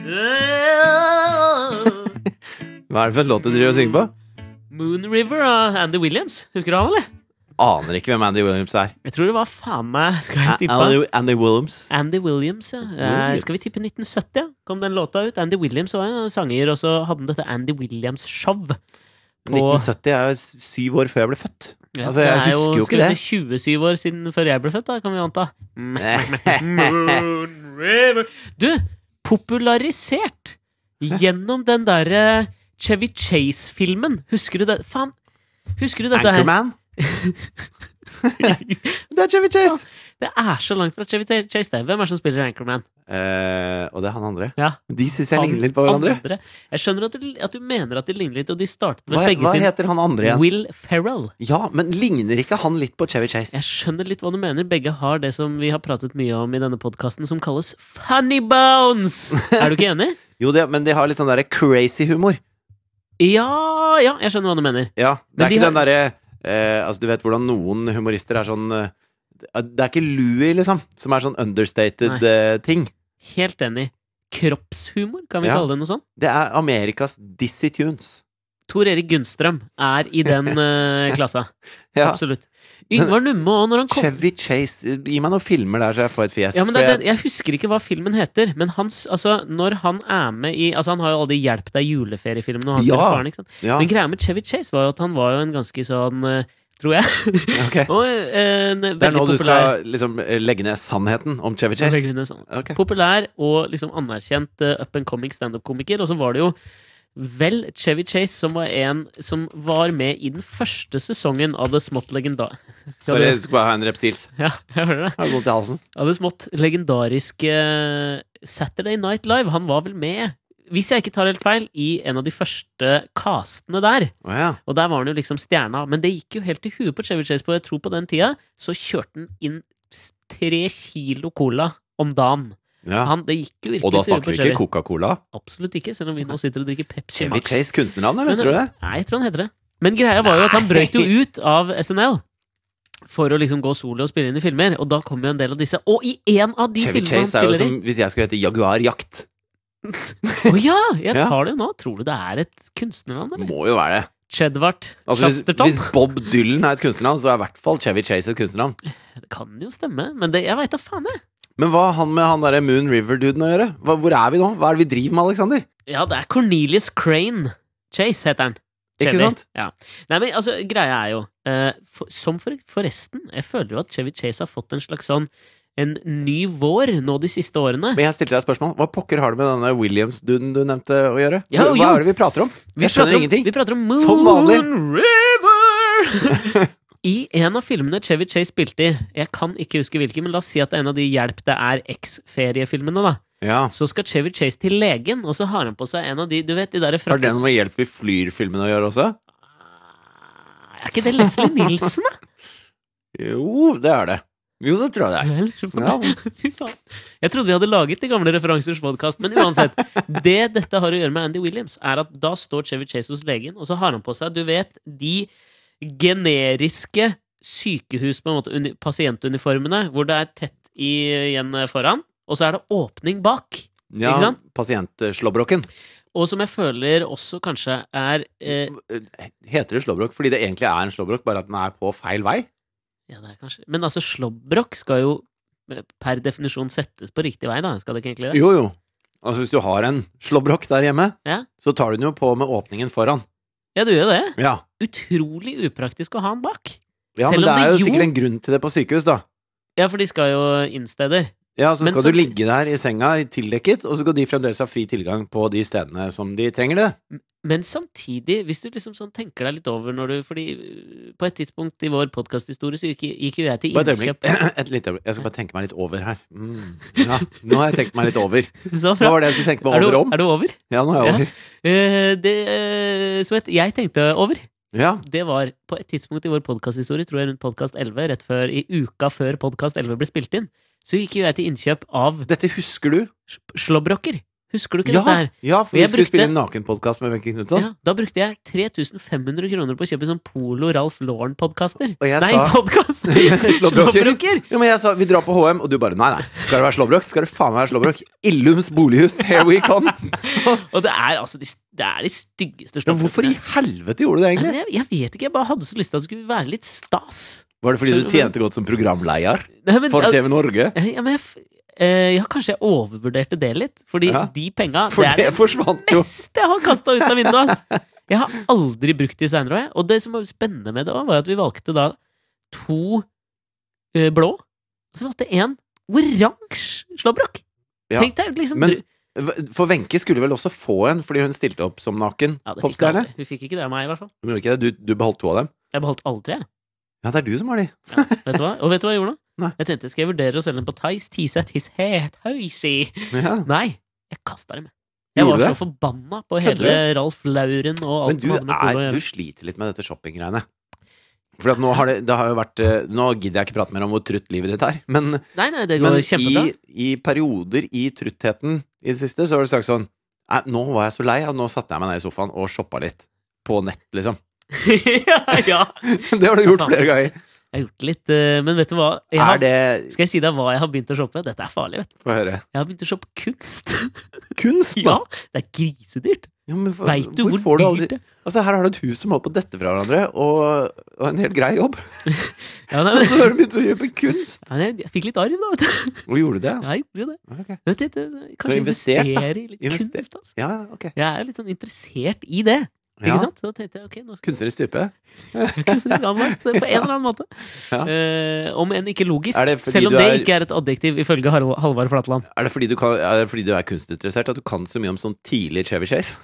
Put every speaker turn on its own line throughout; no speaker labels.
Eh.
Hva er det for en låt du driver og synger på?
Moon River av Andy Williams. Husker du han, eller?
Aner ikke hvem Andy Williams er.
Jeg tror det var faen meg Skal jeg tippe?
Andy, Andy Williams.
Andy Williams, ja. Eh,
Williams.
skal vi tippe 1970? ja? Kom den låta ut? Andy Williams var en sanger, og så hadde han dette Andy Williams-show. På-
1970 er jo s- syv år før jeg ble født. Altså, jeg
det er
husker jo ikke
skal vi
det.
Si 27 år siden før jeg ble født, da, kan vi anta. Moon River Du, popularisert gjennom den derre Chevy Chase-filmen. Husker du det? Faen! Husker du dette her?
Anchorman? det er Chevy Chase!
Det er så langt fra Chevy Chase. Det. Hvem er det som spiller Anchorman?
Eh, og det er han andre.
Ja.
De syns jeg
Han-
ligner litt på hverandre.
Andre. Jeg skjønner at du, at du mener at de ligner litt, og de startet med
Hva,
begge
hva
sin
heter han andre igjen?
Will Ferrell.
Ja, men ligner ikke han litt på Chevy Chase?
Jeg skjønner litt hva du mener. Begge har det som vi har pratet mye om i denne podkasten, som kalles funny bones! Er du ikke enig?
Jo, det, men de har litt sånn derre crazy humor.
Ja, ja, jeg skjønner hva du mener.
Ja, det
Men
er
de
ikke
har-
den derre eh, Altså, du vet hvordan noen humorister er sånn eh, Det er ikke Louis, liksom, som er sånn understated
Nei.
eh, ting.
Helt enig. Kroppshumor, kan vi
Ja.
kalle det noe sånt?
Det er Amerikas Dizzie Tunes.
Tor Erik Gunnstrøm er i den eh, klassa.
Ja.
Absolutt. Yngvar Numme òg, når han kom
Chevy Chase. Gi meg noen filmer der, så jeg får et fjes.
Ja, men
for
det er
jeg-
den, jeg husker ikke hva filmen heter, men hans, altså, når han er med i Altså, han har jo alle de Hjelp deg juleferiefilmene, og han
Ja.
spiller faren, ikke sant?
ja,
Men greia med Chevy Chase var jo at han var jo en ganske sånn eh, Tror jeg.
ok.
Og eh, en
Det er nå
veldig
du
populær
skal liksom eh, legge ned sannheten om Chevy Chase?
Veldig sånn.
Ok.
Populær og liksom anerkjent eh, up and coming standup-komiker. Og så var det jo vel Chevy Chase som var en som var med i den første sesongen av det smått legendar...
Sorry, jeg skulle bare ha en Repsils.
Ja, jeg hører det.
Har du vondt i halsen?
av det smått legendariske eh, Saturday Night Live. Han var vel med, hvis jeg ikke tar helt feil, i en av de første castene der.
Å ja.
Og der var han jo liksom stjerna. Men det gikk jo helt til huet på Chevy Chase. På jeg tror på den tida så kjørte han inn s- tre kilo cola om dagen.
ja.
Han, det gikk jo virkelig
Og da
til huet på
snakker vi ikke
Chevy.
Coca-Cola?
Absolutt ikke, selv om vi nå sitter og drikker Pepsi
Chevy
Max.
Chase kunstnernavn, eller?
Men-
Tror du det?
Nei, jeg tror han heter det. Men greia var jo at han brøt jo ut av SNL. For å liksom gå solo og spille inn i filmer. Og da kom jo en del av disse. Og i en av de
Chevy
filmene han
Chase er jo
spiller i
som hvis jeg skulle hete Jaguar Jakt.
Å ja! Jeg
Ja.
tar det nå. Tror du det er et kunstnernavn, eller?
Må jo være det.
Chedvard
Altså, hvis,
Chasterton?
hvis Bob Dylan er et kunstnernavn, så er i hvert fall Chevy Chase et kunstnernavn.
Det kan jo stemme, men det, jeg veit da faen, jeg.
Men hva har han med han derre Moon River-duden å gjøre? Hva, hvor er vi nå? Hva er det vi driver med, Alexander?
Ja, det er Cornelius Crane. Chase heter han.
Ikke
Chevy.
sant?
Ja. Nei, men altså, greia er jo eh, for, Som for, forresten, jeg føler jo at Chevy Chase har fått en slags sånn en ny vår nå de siste årene.
Men jeg stilte deg et spørsmål. Hva pokker har det med denne Williams-duden du nevnte å gjøre?
Ja,
hva
jo.
er det vi prater om?
Vi
jeg skjønner
prater om,
ingenting.
Vi prater om
Som vanlig.
Moon River! I en av filmene Chevy Chase spilte i, jeg kan ikke huske hvilken, men la oss si at det er en av de Hjelp det er X-feriefilmene, da.
Ja.
Så skal Chevy Chase til legen, og så har han på seg en av de Du vet de der fra
Har det noe med Hjelp vi flyr-filmen å gjøre også?
Er ikke det Leslie Nilsen, da?
Jo, det er det. Jo, det tror jeg det er.
Jeg lurer på
Ja.
det. Fy faen. Jeg trodde vi hadde laget de gamle referansers podkast, men uansett. Det dette har å gjøre med Andy Williams, er at da står Chevy Chase hos legen, og så har han på seg, du vet, de generiske sykehus, på en måte, uni, pasientuniformene, hvor det er tett i, igjen foran, og så er det åpning bak.
Ja,
Ikke sant?
Pasientslåbroken.
Og som jeg føler også kanskje er eh,
Heter det slåbrok fordi det egentlig er en slåbrok, bare at den er på feil vei?
Ja, det er kanskje Men altså, slåbrok skal jo eh, per definisjon settes på riktig vei, da? Skal det ikke egentlig det?
Jo, jo. Altså, hvis du har en slåbrok der hjemme,
Ja.
så tar du den jo på med åpningen foran.
Ja, du gjør jo det.
Ja.
Utrolig upraktisk å ha den bak.
ja
Selv
men
om
det er jo
det jo-
sikkert en grunn til det på sykehus, da.
Ja, for de skal jo innsteder.
Ja, så
Men
skal
så-
du ligge der i senga i tildekket, og så skal de fremdeles ha fri tilgang på de stedene som de trenger det.
Men samtidig, hvis du liksom sånn tenker deg litt over når du Fordi eh, på et tidspunkt i vår podkasthistorie så gikk, gikk jo jeg til
Bare et øyeblikk.
innkjøp
Et lite øyeblikk. Jeg skal bare tenke meg litt over her. Mm. Ja, nå har jeg tenkt meg litt over.
Så
Hva
bra.
var det jeg skulle tenke meg
Altså, Er du,
over om?
er du over?
Ja, nå er jeg
Ja.
over.
Eh, det eh, som het Jeg tenkte over.
Ja.
Det var på et tidspunkt i vår podkasthistorie, tror jeg rundt podkast 11, rett før, i uka før podkast 11 ble spilt inn, så gikk jo jeg til innkjøp av
Dette husker du.
slåbroker. Husker du ikke
Ja,
dette her?
ja, for
Og
vi
jeg
skulle
brukte-
spille en nakenpodkast med Wenche Knutson.
Ja, da brukte jeg 3500 kroner på å kjøpe sånn Polo Ralf Lauren-podkaster.
Og jeg
Nei,
sa-
podkast!
Slåbroker.
Slåbroker!
Jo, men jeg sa vi drar på HM, og du bare nei, nei. Skal det være slåbrok, skal det faen meg være slåbrok. Illums bolighus, here we come.
Og det er altså de, det er de styggeste
Men hvorfor i
slåbrokene.
helvete gjorde du det
Nei,
egentlig?
Jeg, jeg vet ikke, jeg bare hadde så lyst til at det skulle være litt stas.
Var det fordi du tjente godt som programleder
Nei, men,
for TV Norge?
ja, men jeg, f- eh, ja, kanskje jeg overvurderte det litt. Fordi
Ja.
de penga
For
det er
det forsvant jo.
meste jeg har kasta ut av vinduet! Ass. Jeg har aldri brukt de seinere. Og det som var spennende med det, også, var at vi valgte da to eh, blå, og så valgte jeg én oransje slåbrok!
Ja.
Tenk deg, liksom
Men
du-
For Wenche skulle vel også få en, fordi hun stilte opp som naken
ja, det fikk jeg
popstjerne?
aldri. Hun fikk ikke det av meg, i hvert fall.
Hun gjorde ikke det. Du, du beholdt to av dem?
Jeg beholdt alle tre. jeg.
Ja, det er du som har de.
Vet du hva? Og vet du hva jeg gjorde nå?
Nei.
Jeg tenkte, skal jeg vurdere å selge den på Tice? T-set, his head, høysi?
Ja.
Nei, jeg kasta dem. Jeg
Gjorde
var
du
så
det?
forbanna på
Kødder
hele Ralf Lauren og
Men
alt
du,
som hadde med porno å
er,
gjøre.
du sliter litt med dette shoppinggreiene. For at nå har det, det har jo vært eh, Nå gidder jeg ikke prate mer om hvor trutt livet ditt er, men
Nei, nei, det
Men
går kjempebra.
i, i perioder i truttheten i det siste, så har du sagt sånn Nei, nå var jeg så lei, og nå satte jeg meg ned i sofaen og shoppa litt. På nett, liksom.
ja, ja.
Det har du gjort flere ganger.
Jeg har gjort litt, eh, men vet du hva? Jeg
Er
har,
det
skal jeg si deg hva jeg har begynt å shoppe? Dette er farlig, vet du.
Få høre.
Jeg har begynt å shoppe kunst.
Kunst, da!
ja, det er grisedyrt.
Ja, men hva-
Veit du hvor,
får du alle
dyrt
de-
det er?
Altså, her har du et hus som holder på å dette fra hverandre, og, og en helt grei jobb.
Ja, nei,
Og
men,
så har du begynt å kjøpe kunst!
nei, jeg- jeg fikk litt arv, da. Vet du.
Og gjorde det?
Ja, jeg gjorde jo det.
Ok.
Vet du, det-
Du har
kanskje
investert, da.
investere i litt
Investert.
kunst. Altså.
Ja, ok.
Jeg er litt sånn interessert i det.
Ja.
Ikke sant? Så da tenkte jeg ok, nå skal
Kunstnerisk type.
jeg kunstnerisk anlagt det på en eller annen måte.
Ja.
Eh, om enn ikke logisk.
Er det fordi
Selv om
du
det
er-
ikke er et adjektiv ifølge Harald- Halvard Flatland.
Er det fordi du, kan, er, det fordi du er kunstinteressert at du kan så mye om sånn tidlig Chevy Chase?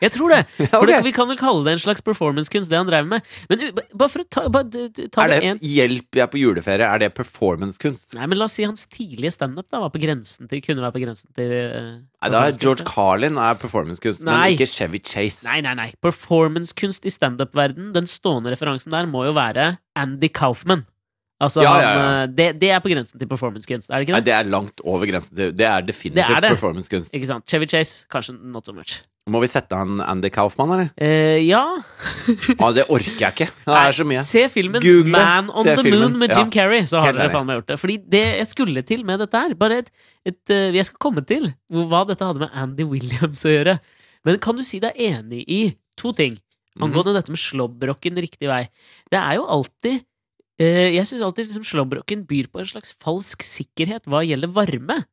Jeg tror det!
Ja,
For
ok.
det, vi kan vel kalle det en slags performancekunst, det han drev med. Men u- ba- bare for å ta, bare, d- d- ta
Er
det
det
en
hjelp jeg er på juleferie? Er det performancekunst?
Nei, men La oss si hans tidlige standup da, var på grensen til, kunne være på grensen til eh,
Nei, da er George
performancekunst.
Carlin er performancekunst, men
Nei.
ikke Chevy Chase.
Nei, nei, nei. Performancekunst i standup-verden den stående referansen der, må jo være Andy Kaufman. Altså,
Ja, ja,
Han,
ja.
eh, det, det er på grensen til performancekunst, er det ikke
Nei,
det?
det er langt over grensen. til- Det er definitivt
Det er det.
performancekunst.
Ikke sant? Chevy Chase, kanskje not so much.
Må vi sette han Andy Kaufman, eller?
Eh, ja
Ah, det orker jeg ikke. Det er så mye.
Se filmen
Google,
Man on
se
the
filmen.
Moon med
Ja.
Jim Carrey, så har
Helt
dere
enig.
faen meg gjort det. Fordi det jeg skulle til med dette her Bare et, et eh, Jeg skal komme til hvor- hva dette hadde med Andy Williams å gjøre. Men kan du si deg enig i to ting angående
Mhm.
dette med slåbroken riktig vei? Det er jo alltid eh, Jeg syns alltid liksom slåbroken byr på en slags falsk sikkerhet hva gjelder varme.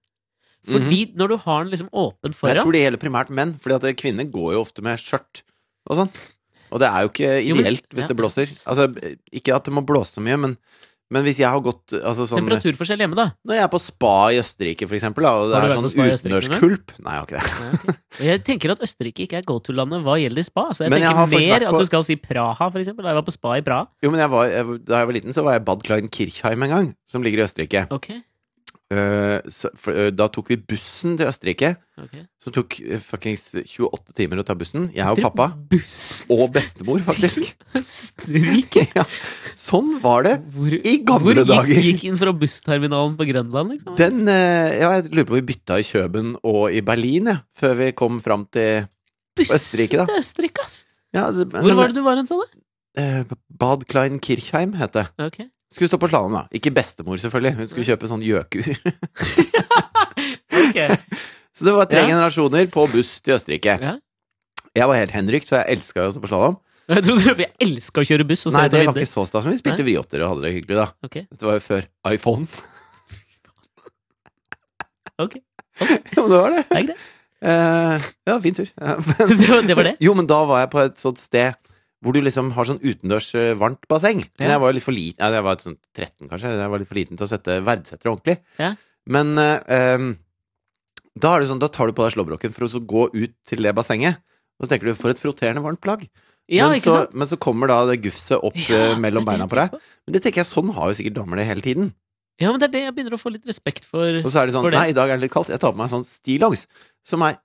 Fordi når du har den liksom åpen
Men Mhm. Jeg
foran
tror det gjelder primært menn, Fordi at kvinner går jo ofte med skjørt og sånn. Og det er jo ikke
Jo, men-
ideelt hvis
ja.
det blåser. Altså, ikke at det må blåse så mye, men, men hvis jeg har gått altså, sånn,
Temperaturforskjell hjemme, da.
Når jeg er på spa i Østerrike, for eksempel, da, og det
Har du
er
vært på
sånn
spa i Østerrike,
utendørskulp Nei, jeg har ikke det.
Nei, ok. Og Jeg tenker at Østerrike ikke er go to-landet hva gjelder spa. Så jeg
Men jeg
tenker
har faktisk
mer
vært på-
at du skal si Praha, for eksempel. Da jeg var på spa i Praha.
Jo, men jeg var, jeg, da jeg var liten, så var jeg i Bad Klein Kirchheim en gang, som ligger i Østerrike.
Ok,
Eh, så, for, eh, da tok vi bussen til Østerrike,
ok
som tok eh, fuckings 28 timer å ta bussen. Jeg og pappa.
Buss
Og bestemor, faktisk.
Østerrike?
ja. Sånn var det.
Hvor,
I gamle
hvor gikk,
dager.
gikk inn fra bussterminalen på Grønland, liksom?
Den eh, ja, Jeg lurer på om vi bytta i Kjøben og i Berlin, jeg, før vi kom fram til
Bussen
Østerrike, da.
til Østerrike, ass!
ja, altså,
Hvor var det du var hen, sa du?
eh, Bad Klein Kirchheim het det.
Ok.
Skulle stå på slalåm, da. Ikke bestemor, selvfølgelig. Hun skulle kjøpe sånn gjøkur.
Ok.
Så det var tre
Ja.
generasjoner på buss til Østerrike.
Ja.
Jeg var helt henrykt, så jeg elska jo å stå på slalåm.
Jeg trodde jeg elska å kjøre buss. Og så ut
Nei,
av
det var
vinduet.
ikke så stas, men vi spilte vriotter og hadde det hyggelig, da.
Ok.
Dette var jo før iPhone.
Ok.
jo, det var det.
Det er greit.
Eh, ja, fin tur. Eh, men-
Det var det. Var det.
Jo, men da var jeg på et sånt sted hvor du liksom har sånn utendørs eh, varmt basseng. Men
Ja.
jeg var jo litt for liten, ja, jeg var et sånt 13 kanskje, jeg var litt for liten til å sette verdsette det ordentlig.
Ja.
Men eh, em, da er det sånn, da tar du på deg slåbroken for å så gå ut til det bassenget. Og så tenker du, for et frotterende varmt plagg.
Ja,
men,
ikke
så,
sant?
men så kommer da det gufset opp
Ja,
eh, mellom
det er det
beina
jeg
på deg.
tenker på.
Men det tenker jeg, sånn har jo sikkert damer det hele tiden.
Ja, men det er det jeg begynner å få litt respekt for.
Og så er det sånn,
For det.
nei, i dag er det litt kaldt, jeg tar på meg en sånn stillongs, som er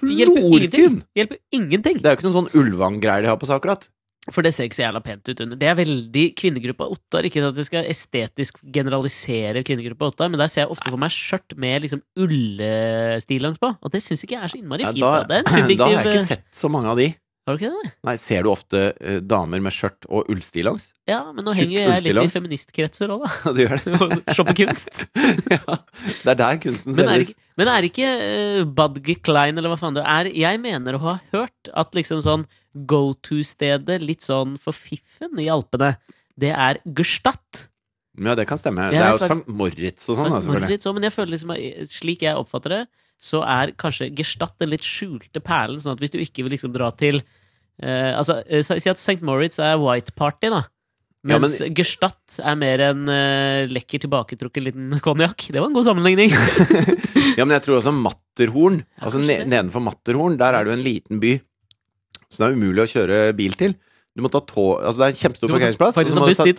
Hjelper
flortynn.
ingenting! Hjelper ingenting.
Det er jo ikke noen sånn Ulvang-greier de har på seg akkurat.
For det ser ikke så jævla pent ut under. Det er veldig kvinnegruppa Ottar. Ikke at jeg skal estetisk generalisere kvinnegruppa Ottar, men der ser jeg ofte for meg skjørt med liksom ullestillongs på. Og det syns ikke jeg er så innmari
Ja,
fint.
da-
da. Det er en
Da har
subjektiv eh,
jeg ikke sett så mange av de.
Har du ikke det?
Nei, ser du ofte eh, damer med skjørt og ullstillongs?
Ja, men nå
Tjukk
henger jo jeg litt i
ullstillongs.
feministkretser òg, da.
Du gjør det?
Og Shopper kunst.
ja. Det er der kunsten
Men er
selges.
ikke, men er ikke eh, Badge Klein, eller hva faen det er Jeg mener å ha hørt at liksom sånn go to-stedet, litt sånn for fiffen i Alpene, det er Gestadt.
Ja, det kan stemme.
Det
Det
er
er jo
klart-
Sankt Moritz og sånn,
Sankt
da, selvfølgelig.
Moritz også, men jeg føler liksom, at slik jeg oppfatter det, så er kanskje Gestatt den litt skjulte perlen. Sånn at hvis du ikke vil liksom dra til eh, Altså, eh, si at St. Moritz er white party, da.
Ja,
Mens Gestatt er mer en eh, lekker, tilbaketrukken liten konjakk. Det var en god sammenligning.
Ja, men jeg tror også Matterhorn. Altså
kanskje
ne
det.
nedenfor Matterhorn, der er det jo en liten by. Så det er umulig å kjøre bil til. Du må ta tog Altså, det er en kjempestor
Du må
parkeringsplass. og
Faktisk
så
ta
må du
buss dit,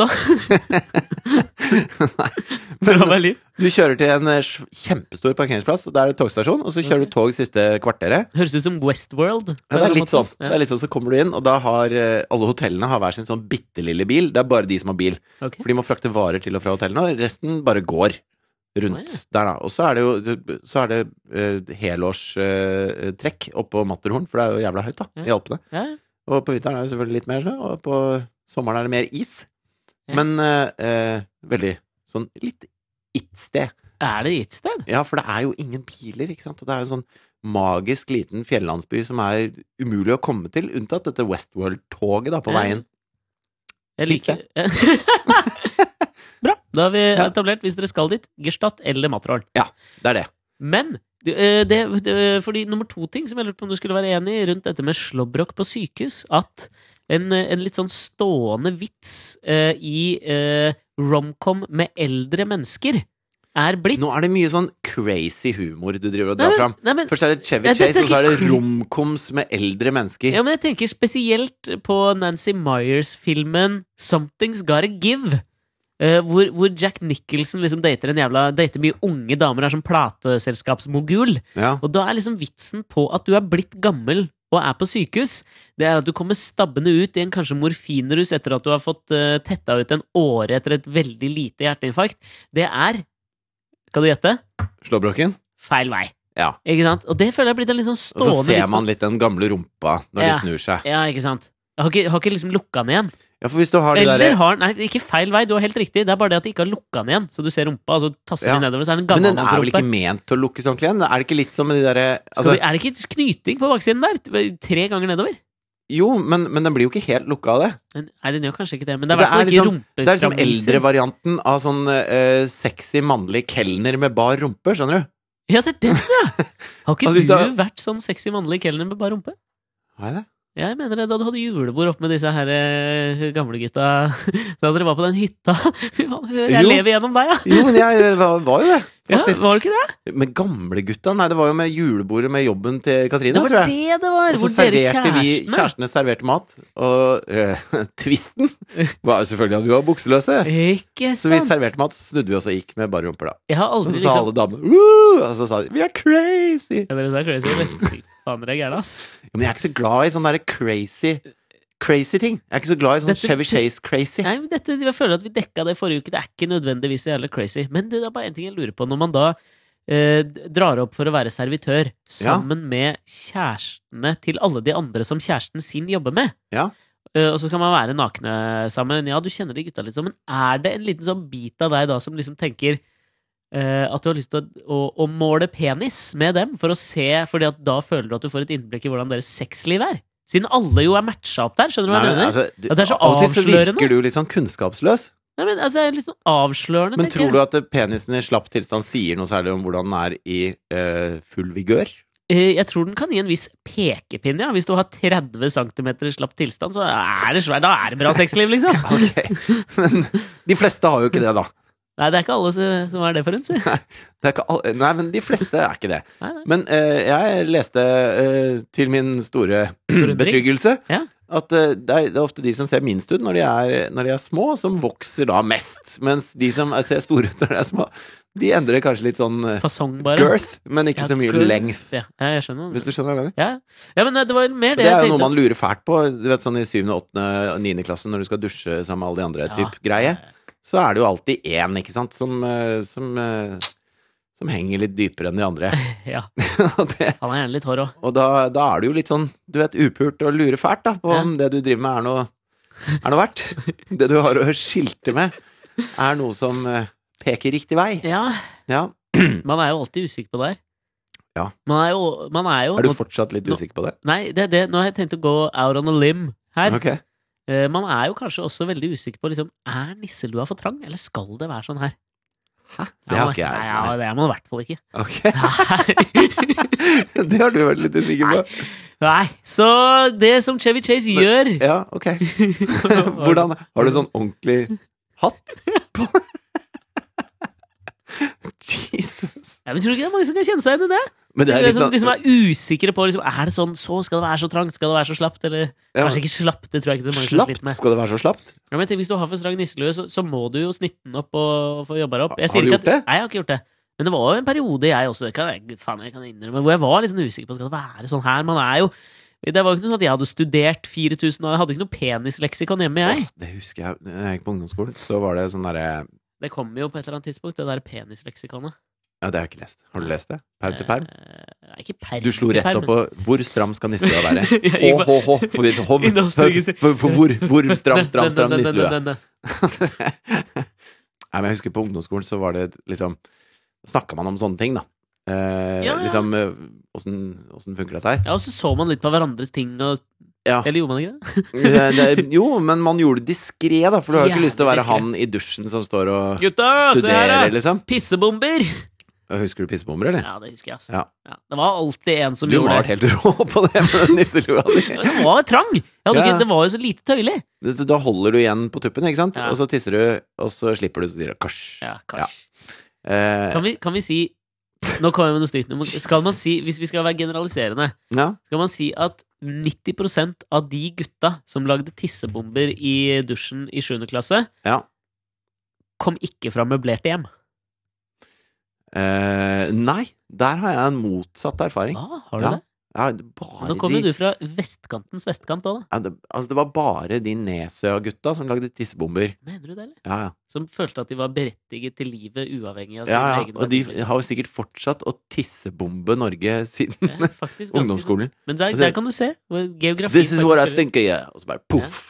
da.
Men-
Fra Berlin.
Du kjører til en eh, sv- kjempestor parkeringsplass, og der er det togstasjon, og så kjører
Ok.
du tog siste kvarteret.
Høres ut som Westworld.
Ja, det er litt sånn. Det
Ja,
er litt sånn, Så kommer du inn, og da har eh, alle hotellene har hver sin sånn bitte lille bil. Det er bare de som har bil.
ok.
For de må frakte varer til og fra hotellene, og resten bare går rundt
Å, ja.
der, da. Og så er det jo så er det eh, helårstrekk oppå Matterhorn, for det er jo jævla høyt, da, i Alpene.
Ja,
Og på vinteren er det selvfølgelig litt mer snø, og på sommeren er det mer is.
Ja.
Men eh, eh, veldig sånn litt it-sted.
er det gitt sted?
Ja, for det er jo ingen piler, ikke sant? Og det er jo en sånn magisk liten fjellandsby som er umulig å komme til, unntatt dette Westworld-toget da på
Ja.
veien.
Jeg
Fint,
liker Bra. Da har vi
Ja.
etablert, hvis dere skal dit, Gestatt eller Matterhorn.
Det er det.
Men du, eh, det, det, fordi nummer to ting som jeg lurte på om du skulle være enig i rundt dette med slåbrok på sykehus, at en, eh, en litt sånn stående vits eh, i eh, romcom med eldre mennesker er blitt
Nå er det mye sånn crazy humor du driver og
Nei,
drar
men-
fram.
Nei, men,
Først er det Chevy
Ja, dette er
Chase, og så er det
ikke-
romkoms med eldre mennesker.
ja, men jeg tenker spesielt på Nancy Myers-filmen Something's Gotta Give. eh, hvor, hvor Jack Nicholson liksom dater en jævla Dater mye unge damer, er som plateselskapsmogul.
Ja.
Og da er liksom vitsen på at du er blitt gammel og er på sykehus, det er at du kommer stabbende ut i en kanskje morfinrus etter at du har fått eh, tetta ut en åre etter et veldig lite hjerteinfarkt. Det er Skal du gjette?
Slåbroken.
Feil vei.
Ja.
Ikke sant? Og det føler jeg er blitt en litt sånn
Og så
stående
ser
vits på-
man litt den gamle rumpa
Ja.
når de snur seg.
Ja, ikke sant? Jeg har ikke, har ikke liksom lukka den igjen.
Ja, for hvis du har de
Eller
derre
har Nei, ikke feil vei, du har helt riktig. Det er bare det at de ikke har lukka den igjen. Så du ser rumpa, og så tasser
Ja.
de nedover, så er det en
Men den er vel
gammelmannsrumpe.
ikke ment til å lukkes ordentlig igjen? Er det ikke litt som med de derre
Altså,
altså,
er det ikke knyting på baksiden der? Tre ganger nedover?
Jo, men, men den blir jo ikke helt lukka av det.
Men, nei, den gjør kanskje ikke det, men det er i
Det
hvert fall
er
ikke
liksom-
rumpeframviser.
Det er liksom eldrevarianten av sånn eh, sexy mannlig kelner med bar rumpe, skjønner du?
Ja, det er den, ja! Har ikke
Altså, hvis
du
du har-
vært sånn sexy mannlig kelner med bar rumpe?
Har jeg det?
Ja, jeg mener det, da du hadde julebord oppe med disse her eh, gamle gutta Da dere var på den hytta Fy faen, hør, jeg
Jo.
lever gjennom deg, ja!
Jo, men jeg eh, var, var jo det.
ja
Faktisk.
var det ikke det?
Med gamlegutta? Nei, det var jo med julebordet med jobben til Katrine,
Det var
tror jeg.
det det var!
Og så
Hvor dere
serverte vi
kjærestene
Kjærestene serverte mat, og eh, tvisten var jo selvfølgelig at vi var bukseløse.
Ikke
Så vi
sant?
serverte mat, så snudde vi oss og gikk med bare rumper, da.
Jeg har
Og
aldri
så sa
liksom
alle damene «Woo!» Og så sa de 'vi er crazy'.
ja, Dere sa crazy, eller? Fy faen, dere er gærne, ass.
Ja, Men jeg er ikke så glad i sånne der crazy Crazy ting. Jeg er ikke så glad i sånn
Dette-
Chevy Chase-crazy.
Nei, men dette, jeg føler at vi dekka det forrige uke. Det er ikke nødvendigvis så jævlig crazy. Men du, det er bare én ting jeg lurer på. Når man da eh, d- drar opp for å være servitør sammen med kjærestene til alle de andre som kjæresten sin jobber med
Ja.
Eh, og så skal man være nakne sammen. Ja, du kjenner de gutta litt sånn, men er det en liten sånn bit av deg da som liksom tenker eh, at du har lyst til å, å, å måle penis med dem for å se Fordi at da føler du at du får et innblikk i hvordan deres sexliv er? Siden alle jo er matcha opp der, skjønner du hva jeg
men
mener?
altså, du-
Ja, det er så
av og til så
avslørende.
virker du litt sånn kunnskapsløs.
Nei, men altså, det er litt sånn avslørende,
Men
tenker
tror
jeg.
du at eh, penisen i slapp tilstand sier noe særlig om hvordan den er i eh, full vigør?
Eh, Jeg tror den kan gi en viss pekepinne, ja. Hvis du har 30 cm slapp tilstand, så er det svær. Da er det bra sexliv, liksom.
Ok, Men de fleste har jo ikke det, da.
Nei, det er ikke alle som- som er det forunt, si.
Det er ikke all... Nei, men de fleste er ikke det.
Nei, nei.
Men eh, jeg leste eh, til min store
Forundring.
betryggelse
Ja.
At eh, det er, det er ofte de som ser minst ut når de, er, når de er små, som vokser da mest. Mens de som er, ser store ut når de er små, de endrer kanskje litt sånn eh,
Fasong, bare.
girth, men ikke
Ja,
så mye
girth.
length.
Ja, ja, jeg skjønner.
Hvis du skjønner hva jeg mener?
Ja. ja, men eh, det var mer det,
Det er
jeg
jo noe
tenkte.
man lurer fælt på Du vet sånn i 7., 8., og 9. klasse når du skal dusje sammen med alle de andre
Ja.
typ greie. Så er det jo alltid én, ikke sant, som, eh, som, eh, som henger litt dypere enn de andre.
Ja,
og det,
han har gjerne litt hår òg.
og da, da er det jo litt sånn, du vet, upult og lurer fælt da, på om det du driver med er noe, er noe verdt. Det du har å skilte med, er noe som eh, peker riktig vei.
Ja,
Ja.
man er jo alltid usikker på det her.
Ja.
Man er jo, man er jo
Er du fortsatt litt usikker på det?
Nei, det er det. Nå har jeg tenkt å gå out on a limb her.
Ok.
Eh, Man er jo kanskje også veldig usikker på liksom, Er nisselua for trang, eller skal det være sånn her? Hæ?
Det har ikke jeg.
Nei, ja, det er man i hvert fall ikke.
Ok.
Nei.
det har du vært litt usikker på.
Nei. Så det som Chevy Chase
Men-
gjør
Ja, ok. Hvordan Har du sånn ordentlig hatt på Jesus.
Ja, men tror du ikke det er mange som kan kjenne seg igjen i det?
Men det er litt
som, liksom
sånn
er usikre på liksom, Er det sånn så skal det være så trangt, skal det være så slapt, eller
Ja.
Kanskje ikke slapt, det tror jeg ikke det er mange som
Slapt?
sliter med.
Skal det være så slapt?
Ja, men jeg tenker, hvis du har for strang nisselue, så, så må du jo snitte den opp og få jobba deg opp. Jeg
Har
sier
du
ikke
gjort
at,
det?
Nei, jeg har ikke gjort det. Men det var jo en periode jeg også, det kan jeg, faen, jeg kan innrømme, hvor jeg var litt sånn usikker på skal det være sånn her. Man er jo Det var jo ikke noe sånn at jeg hadde studert 4000, og jeg hadde ikke noe penisleksikon hjemme, jeg.
Åh, det husker jeg. Når jeg gikk på ungdomsskolen, så var det sånn derre
Det kom jo på et eller annet tidspunkt, det der penisleksikonet.
Ja, det har jeg ikke lest. Har du lest det? Perm til perm?
Eh, nei, ikke perm.
Du slo
til
rett
perm.
opp på hvor stram skal nisselua være?
Jeg
H,
gikk
H, H. For, vi- hov-
Innholdsregistrer.
for, for hvor, hvor stram, stram, stram
Den, den, den,
nisselue?
den, den, den.
Nei, men jeg husker på ungdomsskolen så var det liksom Snakka man om sånne ting, da. Eh,
Ja, ja.
Liksom åssen funker dette her?
Ja, og så så man litt på hverandres ting og
Ja.
Eller gjorde man ikke det?
Eh, det, er- jo, men man gjorde det diskré, da, for du har jo ikke
Jævlig
lyst til å være
diskret.
han i dusjen som står og
Gutta, se her,
studerer,
altså, da!
liksom.
Pissebomber!
Husker du pissebomber, eller?
Ja, det husker jeg, ass.
Ja.
Ja, det var alltid en som
Du
gjorde
var
det.
helt rå på det med nisselua di.
Det var trang! Jeg hadde
Ja.
ikke, det var jo så lite tøyelig.
Det- Da holder du igjen på tuppen, ikke sant?
Ja.
Og så tisser du, og så slipper du, så sier du kasj.
Ja, kanskje.
Eh,
Kan, vi, kan vi si Nå kommer jeg med noe stygt. Nå må- Skal man si, hvis vi skal være generaliserende,
ja.
skal man si at 90 av de gutta som lagde tissebomber i dusjen i 7. klasse,
ja.
kom ikke fra møblerte hjem.
Eh, nei, der har jeg en motsatt erfaring.
Ah, har du
Ja,
det?
Ja, det bare
Nå kommer jo
de,
du fra vestkantens vestkant òg, da.
ja, det, altså, det var bare de Nesøya-gutta som lagde tissebomber.
Mener du det, eller?
Ja, ja.
Som følte at de var berettiget til livet uavhengig av sin
ja, ja.
Altså, egen
Og de
verdier.
har jo sikkert fortsatt å tissebombe Norge siden
Ja, faktisk ganske-
ungdomsskolen.
Men der,
Altså,
der kan du se. hvor Geografi
This is
faktisk
what I
spiller-
think of you. Og så bare poff.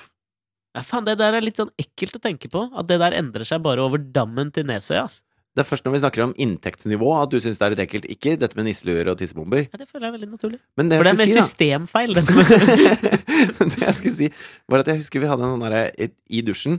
Ja, faen, det der er litt sånn ekkelt å tenke på. At det der endrer seg bare over dammen til Nesøya. ass.
Det er først når vi snakker om inntektsnivå at du syns det er litt ekkelt. Ikke dette med nisseluer og tissebomber.
Ja, det føler jeg er veldig naturlig.
Men det
For det er
jeg
mer
skulle si, da
systemfeil. dette med-
det jeg skulle si, var at jeg husker vi hadde en sånn derre I dusjen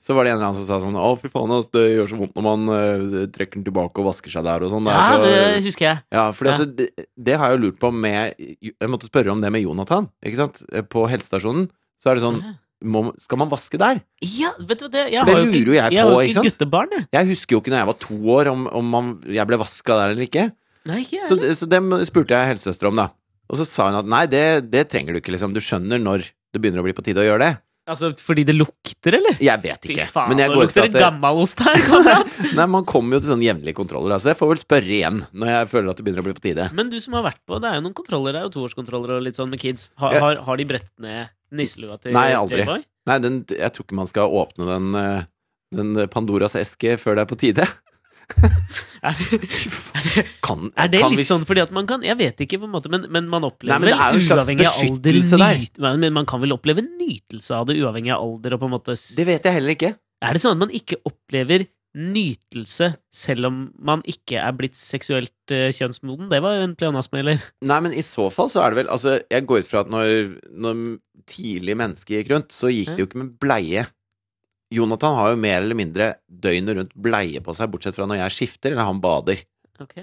så var det en eller annen som sa sånn Å, fy faen, ass, det gjør så vondt når man eh, trekker den tilbake og vasker seg der og sånn. Det
Ja,
er
det
så,
husker jeg.
ja, fordi at det, det har jeg jo lurt på med Jeg måtte spørre om det med Jonathan, ikke sant? Eh, På helsestasjonen. Så er det sånn
Mhm.
må, Skal man vaske der?
Ja, vet du hva det Jeg
For det
har jo
lurer
ikke,
jo jeg
jeg har
på,
jo
ikke
ikke
sant?
guttebarn, jeg.
Jeg husker jo ikke når jeg var to år, om, om man, jeg ble vaska der eller ikke.
Nei, ikke jeg
Så,
heller.
det- så dem spurte jeg helsesøster om, da. Og så sa hun at nei, det, det trenger du ikke, liksom. Du skjønner når det begynner å bli på tide å gjøre det.
Altså, fordi det lukter, eller?
Jeg vet
Fy
ikke.
faen,
men jeg
nå
går ut
lukter
fra
det
at det,
gammelost her, kamerat!
Nei, man kommer jo til sånne jevnlige kontroller, da, så jeg får vel spørre igjen når jeg føler at det begynner å bli på tide.
Men du som har vært på, det er jo noen kontroller, det er jo toårskontroller og litt sånn med kids. Har,
Ja.
har, har de brett ned nisselua til
Nei, aldri.
J-Boy?
Nei, den, jeg tror ikke man skal åpne den, eh, den Pandoras eske før det er på tide.
Er,
Kan,
er det
kan
litt sånn fordi at man kan Jeg vet ikke, på en måte, men, men man opplever
Nei, men det er jo en
vel
slags
uavhengig av alder
beskyttelse der.
nyt- Men- Men man kan vel oppleve nytelse av det uavhengig av alder og på en måte s-
Det vet jeg heller ikke.
Er det sånn at man ikke opplever nytelse selv om man ikke er blitt seksuelt eh, kjønnsmoden? Det var jo en pleonasme, eller?
Nei, men i så fall så er det vel Altså, jeg går ut fra at når, når tidlig menneske gikk rundt, så gikk det jo ikke med bleie. Jonathan har jo mer eller mindre døgnet rundt bleie på seg, bortsett fra når jeg skifter eller han bader.
Ok.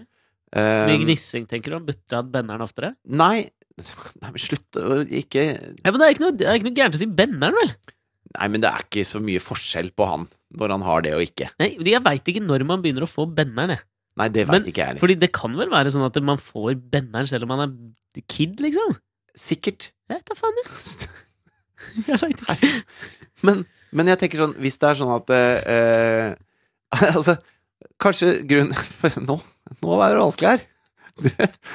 Mye
Um,
gnissing, tenker du? Burde hatt benneren oftere?
nei, nei, men slutt å ikke
Ja, men det er ikke noe, det er ikke noe gærent å si benneren, vel?
Nei, men det er ikke så mye forskjell på han når han har det og ikke.
Nei, jeg veit ikke når man begynner å få benneren, jeg.
Nei, det
Men-
veit ikke jeg heller.
Fordi det kan vel være sånn at man får benneren selv om man er kid, liksom?
Sikkert.
Jeg vet da faen, jeg. Jeg vet ikke.
Men, men jeg tenker sånn, hvis det er sånn at eh, eh, Altså, kanskje grunn nå, nå er det vanskelig her.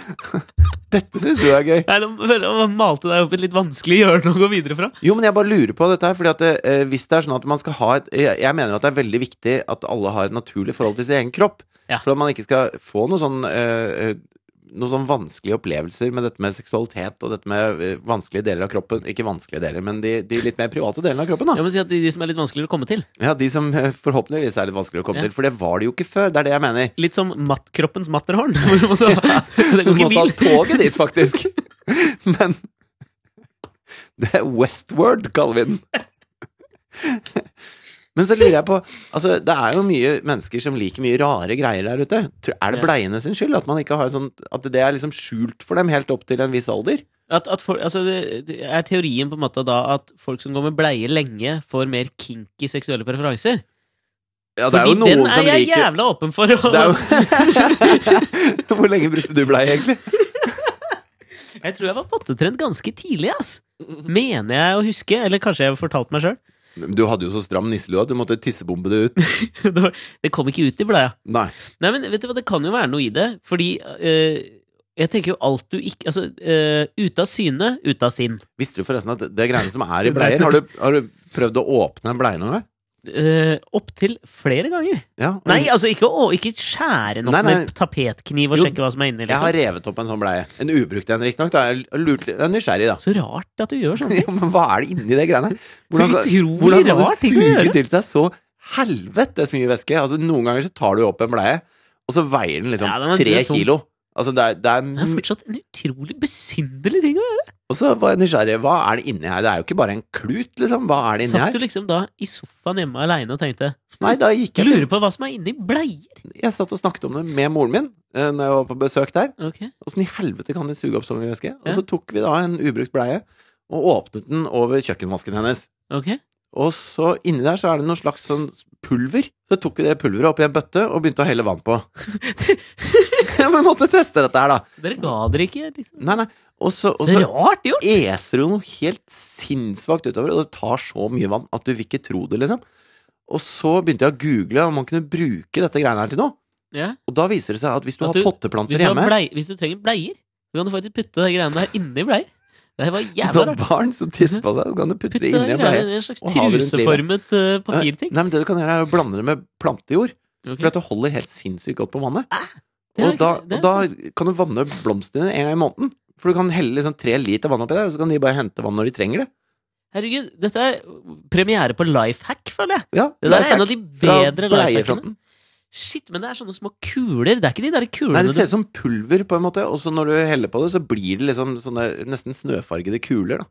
Dette syns du er gøy.
Nei, nå føler jeg man malte deg opp i et litt vanskelig hjørne å gå videre fra.
Jo, men jeg bare lurer på dette her, fordi at eh, hvis det er sånn at man skal ha et Jeg, jeg mener jo at det er veldig viktig at alle har et naturlig forhold til sin egen kropp.
Ja.
For at man ikke skal få noe sånn eh, eh, noen sånn vanskelige opplevelser med dette med seksualitet og dette med eh, vanskelige deler av kroppen. Ikke vanskelige deler, men de, de litt mer private delene av kroppen. da.
Jeg må si at de, de som er litt vanskeligere å komme til.
Ja, de som eh, forhåpentligvis er litt vanskelig å komme
Ja.
til, for det var det jo ikke før. Det er det jeg mener.
Litt som matt, kroppens matterhorn. hvor du måtte- det går
Du må
ikke
ta
bil.
toget dit, faktisk. Men det er Westward, kaller vi den. Men så lurer jeg på Altså, det er jo mye mennesker som liker mye rare greier der ute. Tr- Er det
Ja.
bleiene sin skyld at man ikke har sånn At det er liksom skjult for dem helt opp til en viss alder?
At, at folk- altså, det, det er teorien på en måte da at folk som går med bleie lenge, får mer kinky seksuelle preferanser?
Ja, det er
Fordi
jo noen
den er
som
jeg
liker
jævla åpen for. Og,
det er jo... Hvor lenge brukte du bleie, egentlig?
Jeg tror jeg var pottetrent ganske tidlig, ass. Mener jeg å huske, eller kanskje jeg fortalte meg sjøl.
Du hadde jo så stram nisselue at du måtte tissebombe det ut.
Det, var- det kom ikke ut i bladet.
Nei.
Nei, men vet du hva, det kan jo være noe i det. Fordi eh, jeg tenker jo alt du ikke Altså, eh, ute av syne, ute av sinn.
Visste du forresten at det greiene som er i bleier Har du, har du prøvd å åpne en bleie noen gang?
Uh, Opptil flere ganger.
Ja, og
Nei, altså ikke, å, ikke skjære nok
Nei, nei.
med tapetkniv og
Jo,
sjekke hva som er inni.
Jeg
Liksom.
har revet opp en sånn bleie. En ubrukt en, riktignok. da. Jeg har lurt litt- Jeg er nysgjerrig, da.
Så rart at du gjør sånn.
Ja, men hva er det inni det greiene?
Så utrolig
hvordan
rar
kan det
ting å
suge
gjøre.
til seg så helvetes mye væske? Altså, noen ganger så tar du opp en bleie, og så veier den liksom
Ja, den er- den
tre
er tung.
kilo. Altså, det er, det er,
Det er
m-
fortsatt en utrolig besynderlig ting å gjøre.
og så var jeg nysgjerrig. Hva er det inni her? Det er jo ikke bare en klut, liksom. Hva er det inni
Satt
her?
du liksom da i sofaen hjemme aleine og tenkte
Nei, da gikk
Du
jeg
lurer på hva som er inni bleier?
Jeg satt og snakket om det med moren min eh, Når jeg var på besøk der.
Ok
Åssen i helvete kan de suge opp så mye væske? Og
Ja.
så tok vi da en ubrukt bleie og åpnet den over kjøkkenvasken hennes.
Ok,
Og så inni der så er det noe slags sånn pulver. Så tok vi det pulveret oppi en bøtte og begynte å helle vann på. ja, men måtte teste dette her, da.
Dere ga dere ikke, liksom?
Nei, nei. Og så, og
Så
så
rart gjort!
eser det jo noe helt sinnssvakt utover, og det tar så mye vann at du vil ikke tro det, liksom. Og så begynte jeg å google om man kunne bruke dette greiene her til noe.
Ja.
Og da viser det seg at hvis du
At
har
du-
potteplanter
Hvis, du har
hjemme
blei, hvis du trenger bleier, så kan du faktisk putte de greiene der inni bleier. Det her var
Hvis du
jævla
har
rart.
barn som tisser på seg, så kan du putte
Putte de
det inni
greiene
en bleie.
i en slags
og ha det rundt
truseformet eh, papirting.
Nei, men det du kan gjøre, er å blande det med plantejord.
Ok.
For at det holder helt sinnssykt godt på vannet.
Ah, Det er
og, da,
ikke- det er
og da kan du vanne blomstene dine en gang i måneden. For du kan helle liksom tre liter vann oppi der, og så kan de bare hente vann når de trenger det.
Herregud, dette er premiere på life hack, føler jeg.
Ja,
Det der er en
lifehack
av de
fra
bedre life hackene.
bleiefronten.
Shit, men det er sånne små kuler. Det er ikke de der
Nei,
kulene
det ser ut som pulver, på en måte, og så når du heller på det, så blir det liksom sånne nesten snøfargede kuler, da.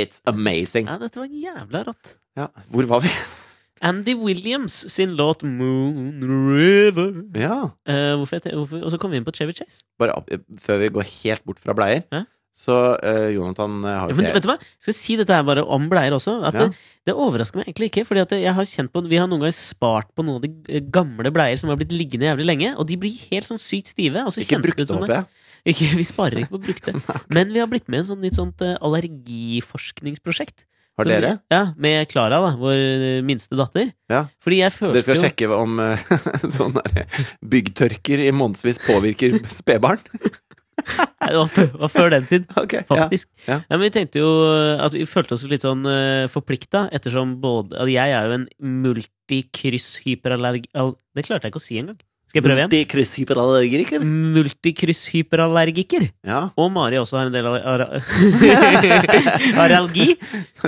It's amazing.
Ja, dette var jævla rått.
Ja, hvor var vi?
Andy Williams sin låt Moon River.
Ja,
Eh, hvorfor jeg te- hvorfor, og så kom vi inn på Chevy Chase.
bare opp, før vi går helt bort fra bleier,
Hæ?
så eh, Jonathan eh,
Ja,
har jo
men
ikke-
vet du hva? Jeg skal si dette her bare om bleier også. At
Ja.
det, det overrasker meg egentlig ikke. Fordi at jeg har kjent på Vi har noen ganger spart på noen av de eh, gamle bleier som har blitt liggende jævlig lenge, og de blir helt sånn sykt stive. Og så
Ikke
kjennes
brukt
det ut
det,
som
håper
det.
jeg.
Ikke, vi sparer ikke på brukte. Men vi har blitt med i et sånt, nytt sånt eh, allergiforskningsprosjekt.
Har
Så vi-
dere?
Ja, Med Klara, da, vår eh, minste datter.
Ja.
Fordi jeg følte
Dere skal
jo-
sjekke om eh, sånn der byggtørker i månedsvis påvirker spedbarn?
Nei, det var før, det var før den tid.
Ok, ja.
Faktisk. Ja,
ja.
men vi tenkte jo eh, at vi følte oss litt sånn uh, forplikta, ettersom både at Jeg er jo en multikryss-hyperallergi... al- Det klarte jeg ikke å si engang. Skal jeg prøve igjen?
Multikrysshyperallergiker?
Multikryss-hyperallergiker.
Ja.
Og Mari også har en del aller- ara- allergi.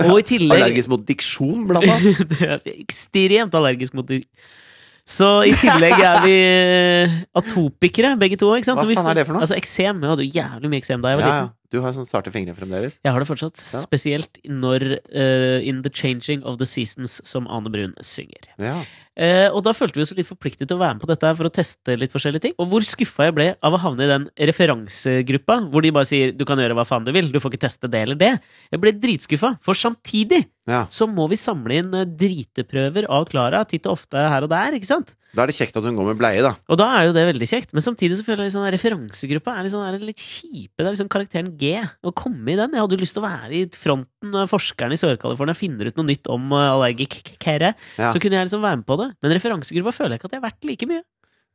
Og i tillegg
Allergisk mot diksjon, blant annet.
Det er Ekstremt allergisk mot Så i tillegg er vi eh, atopikere, begge to. ikke sant?
Hva
Så vi-
faen er det for noe?
Altså eksem. Jeg hadde jo jævlig mye eksem da jeg var
Ja,
liten.
ja. Du har sånn sarte fingre fremdeles.
Jeg har det fortsatt,
Ja.
spesielt når eh, In The Changing of the Seasons, som Ane Brun synger.
Ja.
Eh, og da følte vi oss litt forpliktet til å være med på dette her for å teste litt forskjellige ting. Og hvor skuffa jeg ble av å havne i den referansegruppa hvor de bare sier 'du kan gjøre hva faen du vil', du får ikke teste det eller det. Jeg ble dritskuffa, for samtidig
ja.
så må vi samle inn eh, driteprøver av Klara, titt og ofte her og der, ikke sant?
Da er det kjekt at hun går med bleie, da.
Og da er jo det veldig kjekt, men samtidig så føler jeg litt sånn at referansegruppa er litt, sånn, er litt kjipe. Det er liksom karakteren G. Å komme i den. Jeg hadde jo lyst til å være i fronten når forskerne i Sør-California finner ut noe nytt om eh, allergikere.
Ja.
Så kunne jeg liksom være med på det. Men referansegruppa føler jeg ikke at jeg har vært like mye.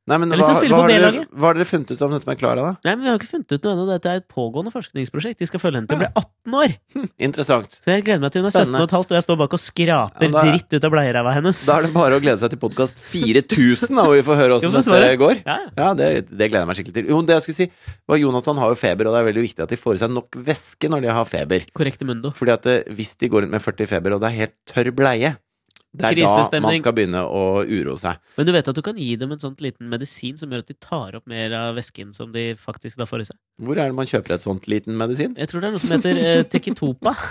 Nei, men
Jeg har lyst til
hva,
å spille
hva,
på
har dere,
B-laget.
hva har dere funnet ut om dette med Klara, da?
Nei, men vi har jo ikke funnet ut noe ennå. Dette er et pågående forskningsprosjekt. De skal følge henne til hun blir 18 år.
Interessant.
Så jeg gleder meg til hun er 17 og
Spennende.
et halvt, og jeg står bak og skraper
Ja, men da-
dritt ut av bleieræva hennes.
Da er det bare å glede seg til podkast 4000, da, hvor vi får
Jo,
høre åssen
men
dette
svaret-
går.
Ja, ja.
Ja, det, det gleder jeg meg skikkelig til. Jo, det jeg skulle si, var Jonathan har jo feber, og det er veldig viktig at de får i seg nok væske når de har feber.
Korrekte mundo.
Fordi at eh, hvis de går rundt med 40 feber, og det er helt tørr bleie, det er da
Krisestemning.
man skal begynne å uroe seg.
Men du vet at du kan gi dem en sånn liten medisin som gjør at de tar opp mer av væsken som de faktisk da får i seg?
Hvor er det man kjøper et sånt liten medisin?
Jeg tror det er noe som heter eh, Tekitopa.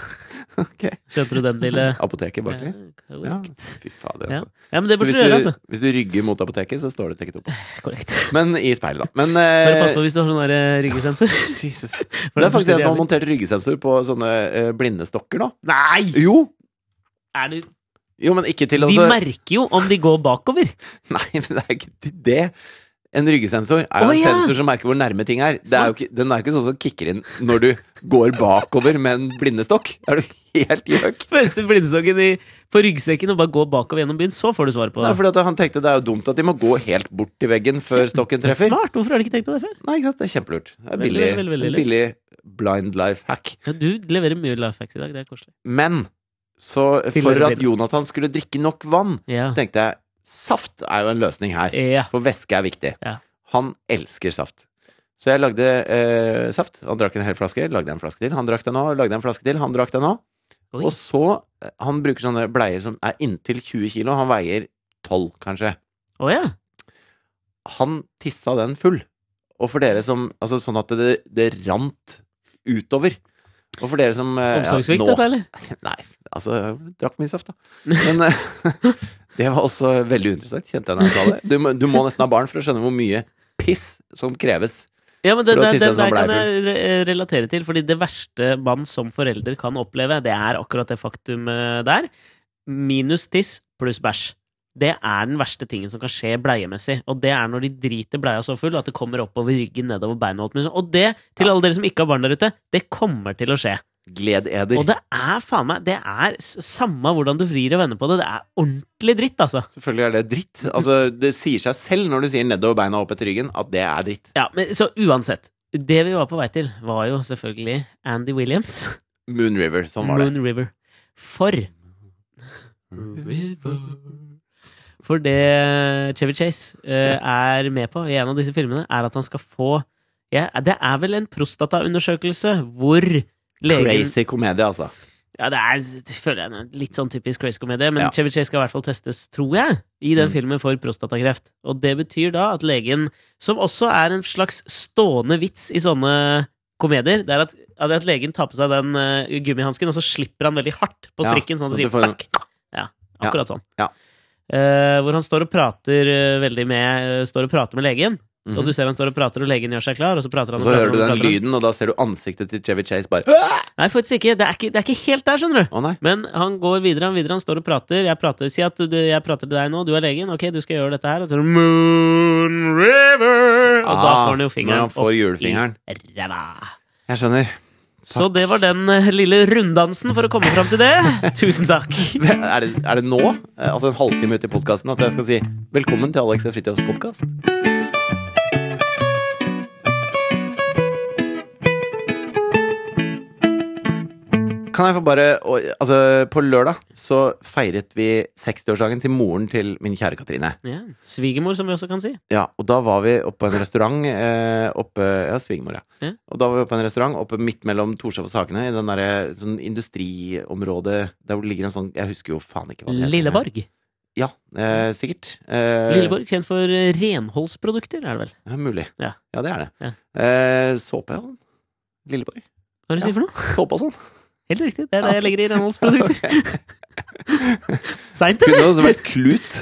Ok.
Skjønte du den lille
Apoteket baklengs?
Eh,
Ja.
Korrekt.
Fy fader.
Ja.
altså.
Ja, men det
Så
burde
hvis
du gjøre, altså.
du, hvis du rygger mot apoteket, så står det tekket opp.
Korrekt.
Men i speilet, da. Men
Bare
eh,
pass på hvis du har sånn der eh, ryggesensor.
Jesus. Det er faktisk jeg som har montert ryggesensor på sånne eh, blindestokker nå.
Nei!
Jo!
Er du...
Jo, men ikke til altså. å
De
så-
merker jo om de går bakover.
Nei, men det er ikke til det. En ryggesensor er jo
Å,
en
ja.
sensor som merker hvor nærme ting er. Det er jo ikke, den er jo ikke sånn som kicker inn når du går bakover med en blindestokk. Er du helt gjøk?
Feste blindsokken i, på ryggsekken og bare gå bakover gjennom byen, så får du svar på
Nei, fordi at Han tenkte det er jo dumt at de må gå helt bort til veggen før stokken treffer.
Smart! Hvorfor har du ikke tenkt på det før?
Nei, ikke sant? Det er kjempelurt. Det er
Veldig,
billig,
veldig, veldig
en billig blind life hack.
Ja, du leverer mye life hacks i dag. Det er koselig.
Men så
Til
for at
billig.
Jonathan skulle drikke nok vann,
Ja.
tenkte jeg saft er jo en løsning her.
ja.
For væske er viktig.
Ja.
Han elsker saft. Så jeg lagde eh, saft. Han drakk en hel flaske, lagde en flaske til. Han drakk den òg, lagde en flaske til. Han drakk den òg.
Oi.
Og så eh, Han bruker sånne bleier som er inntil 20 kilo. Han veier 12, kanskje.
Å ja.
Han tissa den full. Og for dere som Altså sånn at det, det rant utover. Og for dere som eh,
Omsorgssvikt,
nå-
dette, eller?
Nei, altså jeg Drakk mye saft, da. Men eh, det var også veldig uinteressant, kjente jeg når jeg sa det. Du, må- du må nesten ha barn for å skjønne hvor mye piss som kreves.
Ja, men det,
For å
det, det,
tisse en sånn
der kan jeg re- eh, relatere til, fordi det verste man som forelder kan oppleve, det er akkurat det faktumet der. Minus tiss pluss bæsj. Det er den verste tingen som kan skje bleiemessig. Og det er når de driter bleia så full at det kommer oppover ryggen, nedover beina og alt mulig sånt. Og det, til alle dere som ikke har barn der ute, det kommer til å skje. Og
Glededer.
det er faen meg Det er s- samme hvordan du vrir og vender på det, det er ordentlig dritt, altså.
Selvfølgelig er det dritt. Altså, det sier seg selv når du sier nedover beina og opp etter ryggen, at det er dritt.
Ja, men så uansett. Det vi var på vei til, var jo selvfølgelig Andy Williams.
Moon River, sånn var det.
Moon River. For For det Chevy Chase eh, er med på i en av disse filmene, er at han skal få ja, Det er vel en prostataundersøkelse hvor legen
Crazy komedie, altså.
Ja, det er det føler jeg, en litt sånn typisk crazy-komedie, men
Ja.
Chevy Chase skal i hvert fall testes, tror jeg, i den
Mm.
filmen for prostatakreft. Og det betyr da at legen, som også er en slags stående vits i sånne komedier, det er at, ja, det er at legen tar på seg den uh, gummihansken, og så slipper han veldig hardt på
Ja,
strikken, sånn at det sier
så du får en-
takk. Ja, akkurat sånn.
Ja.
Eh, hvor han står og prater eh, veldig med eh, Står og prater med legen,
Mhm.
og du ser han står og prater, og legen gjør seg klar, og så prater
Og
han
så
og prater
hører du
han, og
den
prater han.
lyden, og da ser du ansiktet til Chevy Chase bare Å
Nei, faktisk ikke. Det er ikke, det er ikke helt der, skjønner du.
nei.
Men han går videre, han videre, han står og prater. Jeg prater, Si at du, jeg prater til deg nå, du er legen, ok, du skal gjøre dette her. Og så er det Moon River! Og da
Ah,
får han jo
Når
fingeren
han får
opp
julefingeren.
i ræva.
Jeg skjønner.
Så det var den eh, lille runddansen for å komme fram til det. Tusen takk.
Er det, er det nå, eh, altså en halvtime ut i podkasten, at jeg skal si velkommen til Alex og Fritjofs podkast? Kan jeg få bare og, Altså, på lørdag så feiret vi 60-årsdagen til moren til min kjære Katrine.
Ja, Svigermor, som vi også kan si.
Ja, og da var vi oppe på en restaurant eh, oppe, Ja, svigermor, ja.
Ja.
Og da var vi oppe på en restaurant oppe midt mellom Torshov og Sakene, i den derre sånn industriområdet der hvor det ligger en sånn Jeg husker jo faen ikke hva det heter.
Lilleborg.
Ja, eh, sikkert. Eh,
Lilleborg kjent for eh, renholdsprodukter, er det vel?
Ja, mulig.
Ja.
det er det.
Ja.
Eh, såpe og sånn. Lilleborg.
Hva er det du
Ja.
sier for noe?
Såpe og sånn.
Helt riktig, det er det jeg legger i renholdsprodukter. Seint, eller?
Kunne også vært klut.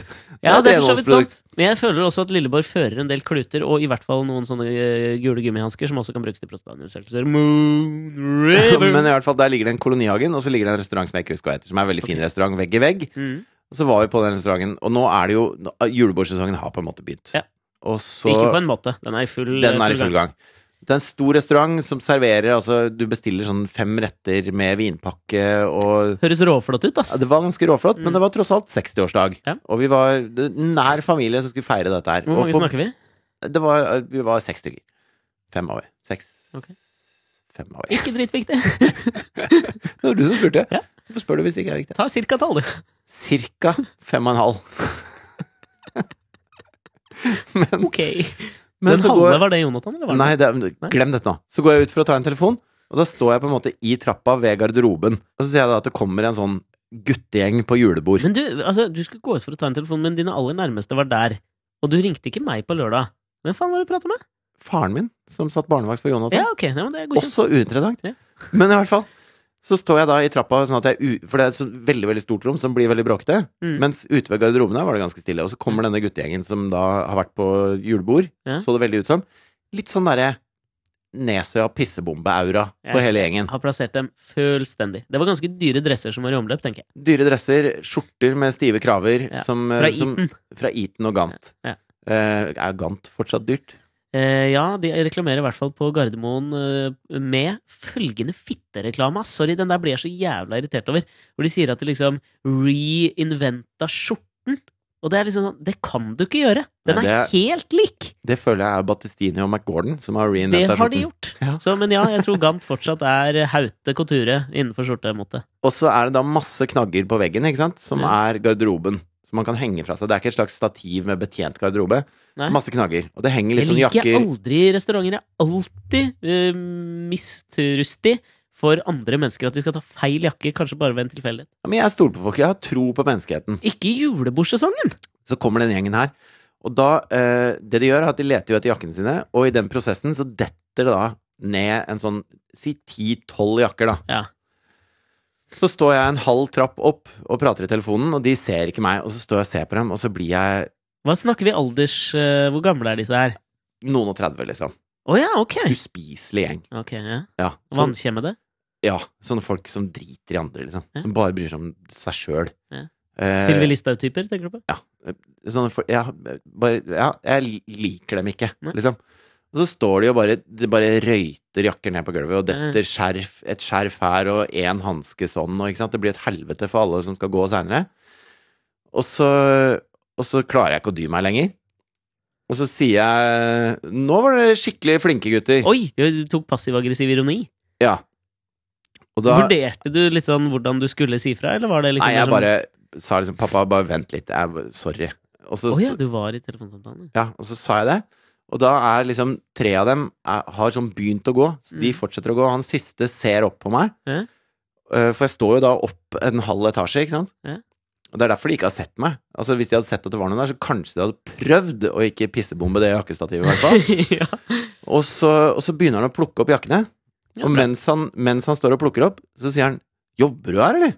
Ja,
Det
det er for
er et
så vidt
renholdsprodukt.
sant. Men jeg føler også at Lilleborg fører en del kluter, og i hvert fall noen sånne eh, gule gummihansker som også kan brukes til prostataundersøkelser. Moon River!
Men i hvert fall, der ligger det en kolonihagen, og så ligger det en restaurant som jeg ikke husker hva heter, som er en veldig fin restaurant vegg i vegg.
mm.
Og så var vi på den restauranten, og nå er det jo Julebordsesongen har på en måte begynt.
Ja.
Og så
Ikke på en måte. Den er i full,
Den er i full gang. Det er en stor restaurant som serverer altså Du bestiller sånn fem retter med vinpakke og
Høres råflott ut, ass.
ja, Det var ganske råflott,
Mm.
men det var tross alt 60-årsdag.
Ja.
Og vi var det- nær familie som skulle feire dette her.
Hvor mange
og på,
snakker vi?
det var, vi var seks stykker. Fem av vi. Seks
Ok.
Fem av vi.
Ikke dritviktig.
Det var du som spurte.
Ja.
Hvorfor spør du hvis det ikke er viktig?
Ta cirka tall, du.
Cirka fem og en halv. men
Ok.
men
Den
så
halve
går
var det Jonathan, eller var det?
Nei, det, glem dette nå. Så går jeg ut for å ta en telefon, og da står jeg på en måte i trappa ved garderoben. Og så ser jeg da at det kommer en sånn guttegjeng på julebord.
Men du, altså, du skulle gå ut for å ta en telefon, men dine aller nærmeste var der. Og du ringte ikke meg på lørdag. Hvem faen var det du prata med?
Faren min, som satt barnevakt for Jonathan.
Ja, ok, ja, men det er godkjent.
Også uinteressant.
Ja.
Men i hvert fall så står jeg da i trappa, sånn at jeg, u- for det er et sånn veldig veldig stort rom som blir veldig bråkete.
Mm.
Mens ute ved garderoben her var det ganske stille. Og så kommer denne guttegjengen som da har vært på julebord,
Ja.
så det veldig ut som. Litt sånn derre Nesøya-pissebombe-aura
Jeg
på hele gjengen.
Har plassert dem fullstendig. Det var ganske dyre dresser som var i omløp, tenker jeg.
Dyre dresser, skjorter med stive kraver
Ja.
som, eh,
Fra
som,
Eton.
fra Eton og Gant.
Ja.
Eh, er Gant fortsatt dyrt?
Eh, ja, de reklamerer i hvert fall på Gardermoen eh, med følgende fittereklame. ass. Sorry, den der blir jeg så jævla irritert over. Hvor de sier at de liksom reinventa skjorten. Og det er liksom sånn Det kan du ikke gjøre! Den
Nei,
er helt lik!
Det føler jeg er Battistini og McGordon som har
Det
reinventa
har de
skjorten.
gjort.
Ja.
Så, men ja, jeg tror Gant fortsatt er haute couture innenfor skjortemote.
Og så er det da masse knagger på veggen, ikke sant, som
Ja.
er garderoben. Som man kan henge fra seg. Det er ikke et slags stativ med betjent garderobe.
Nei.
Masse knagger. Og det henger
Det
litt sånn
liker jeg
jakker
aldri i restauranter. Jeg er alltid eh, mistrustig for andre mennesker. At de skal ta feil jakke, kanskje bare ved en tilfeldighet.
Ja, Men jeg stoler på folk. Jeg har tro på menneskeheten.
Ikke i julebordsesongen!
Så kommer den gjengen her. Og da, eh, det de gjør er at de leter jo etter jakkene sine, og i den prosessen så detter det da ned en sånn, si 10-12 jakker da.
Ja.
Så står jeg en halv trapp opp og prater i telefonen, og de ser ikke meg, og så står jeg og ser på dem, og så blir jeg
Hva snakker vi alders eh, Hvor gamle er disse her?
noen og 30, liksom.
Å ja, ok!
Uspiselig gjeng.
Ok, ja.
Ja, sånn,
Vannkjemmede?
ja, sånne folk som driter i andre, liksom.
Ja.
Som bare bryr seg om seg sjøl. Eh,
Ja. Sylvi Listhaug-typer, tenker du på?
sånne folk ja, bare, ja, jeg liker dem ikke,
Nei.
liksom. Og så står de og bare, det bare røyter jakker ned på gulvet, og detter skjerf, et skjerf her og én hanske sånn, og ikke sant? det blir et helvete for alle som skal gå seinere. Og, så- og så klarer jeg ikke å dy meg lenger. Og så sier jeg Nå var dere skikkelig flinke, gutter.
Oi! Du tok passiv-aggressiv ironi.
Ja. Og da
Vurderte du litt sånn hvordan du skulle si fra, eller var det liksom
Nei, jeg
mer sånn-
bare sa liksom Pappa, bare vent litt. Jeg, sorry. Og så,
Å ja, du var i telefonsamtalen?
Ja, og så sa jeg det. Og da er liksom tre av dem er, har sånn begynt å gå. Så de
Mm.
fortsetter å gå. Han siste ser opp på meg.
Ja.
Eh, For jeg står jo da opp en halv etasje, ikke sant.
Ja.
Og det er derfor de ikke har sett meg. Altså Hvis de hadde sett at det var noen der, så kanskje de hadde prøvd å ikke pissebombe det jakkestativet, i hvert fall.
ja.
og, så, og så begynner han å plukke opp jakkene.
Ja,
og
bra.
mens han, mens han står og plukker opp, så sier han 'Jobber du her, eller?'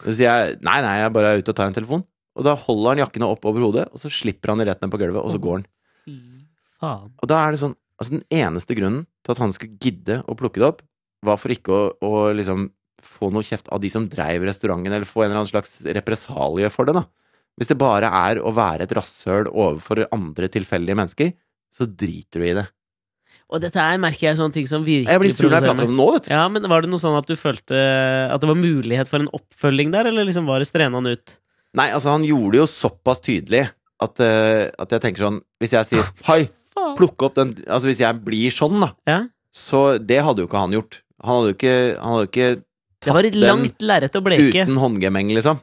Så sier jeg 'Nei, nei, jeg er bare ute og tar en telefon'. Og da holder han jakkene opp over hodet, og så slipper han de rett ned på gulvet, og så
Åh.
går han.
Fy faen.
Og da er det sånn Altså, den eneste grunnen til at han skulle gidde å plukke det opp, var for ikke å, å liksom få noe kjeft av de som dreiv restauranten, eller få en eller annen slags represalie for det, da. Hvis det bare er å være et rasshøl overfor andre tilfeldige mennesker, så driter du i det.
Og dette her merker jeg sånne ting som virkelig
Jeg blir sur når jeg prater om det nå, vet du.
Ja, men Var det noe sånn at du følte at det var mulighet for en oppfølging der, eller liksom var det strenan ut?
Nei, altså, han gjorde det jo såpass tydelig at, eh, at jeg tenker sånn Hvis jeg sier 'hei,
Faen.
plukke opp den Altså, hvis jeg blir sånn, da,
Ja.
så det hadde jo ikke han gjort. Han hadde jo ikke, han hadde jo ikke
Det var et
den
langt lerret å bleke.
uten håndgemeng, liksom.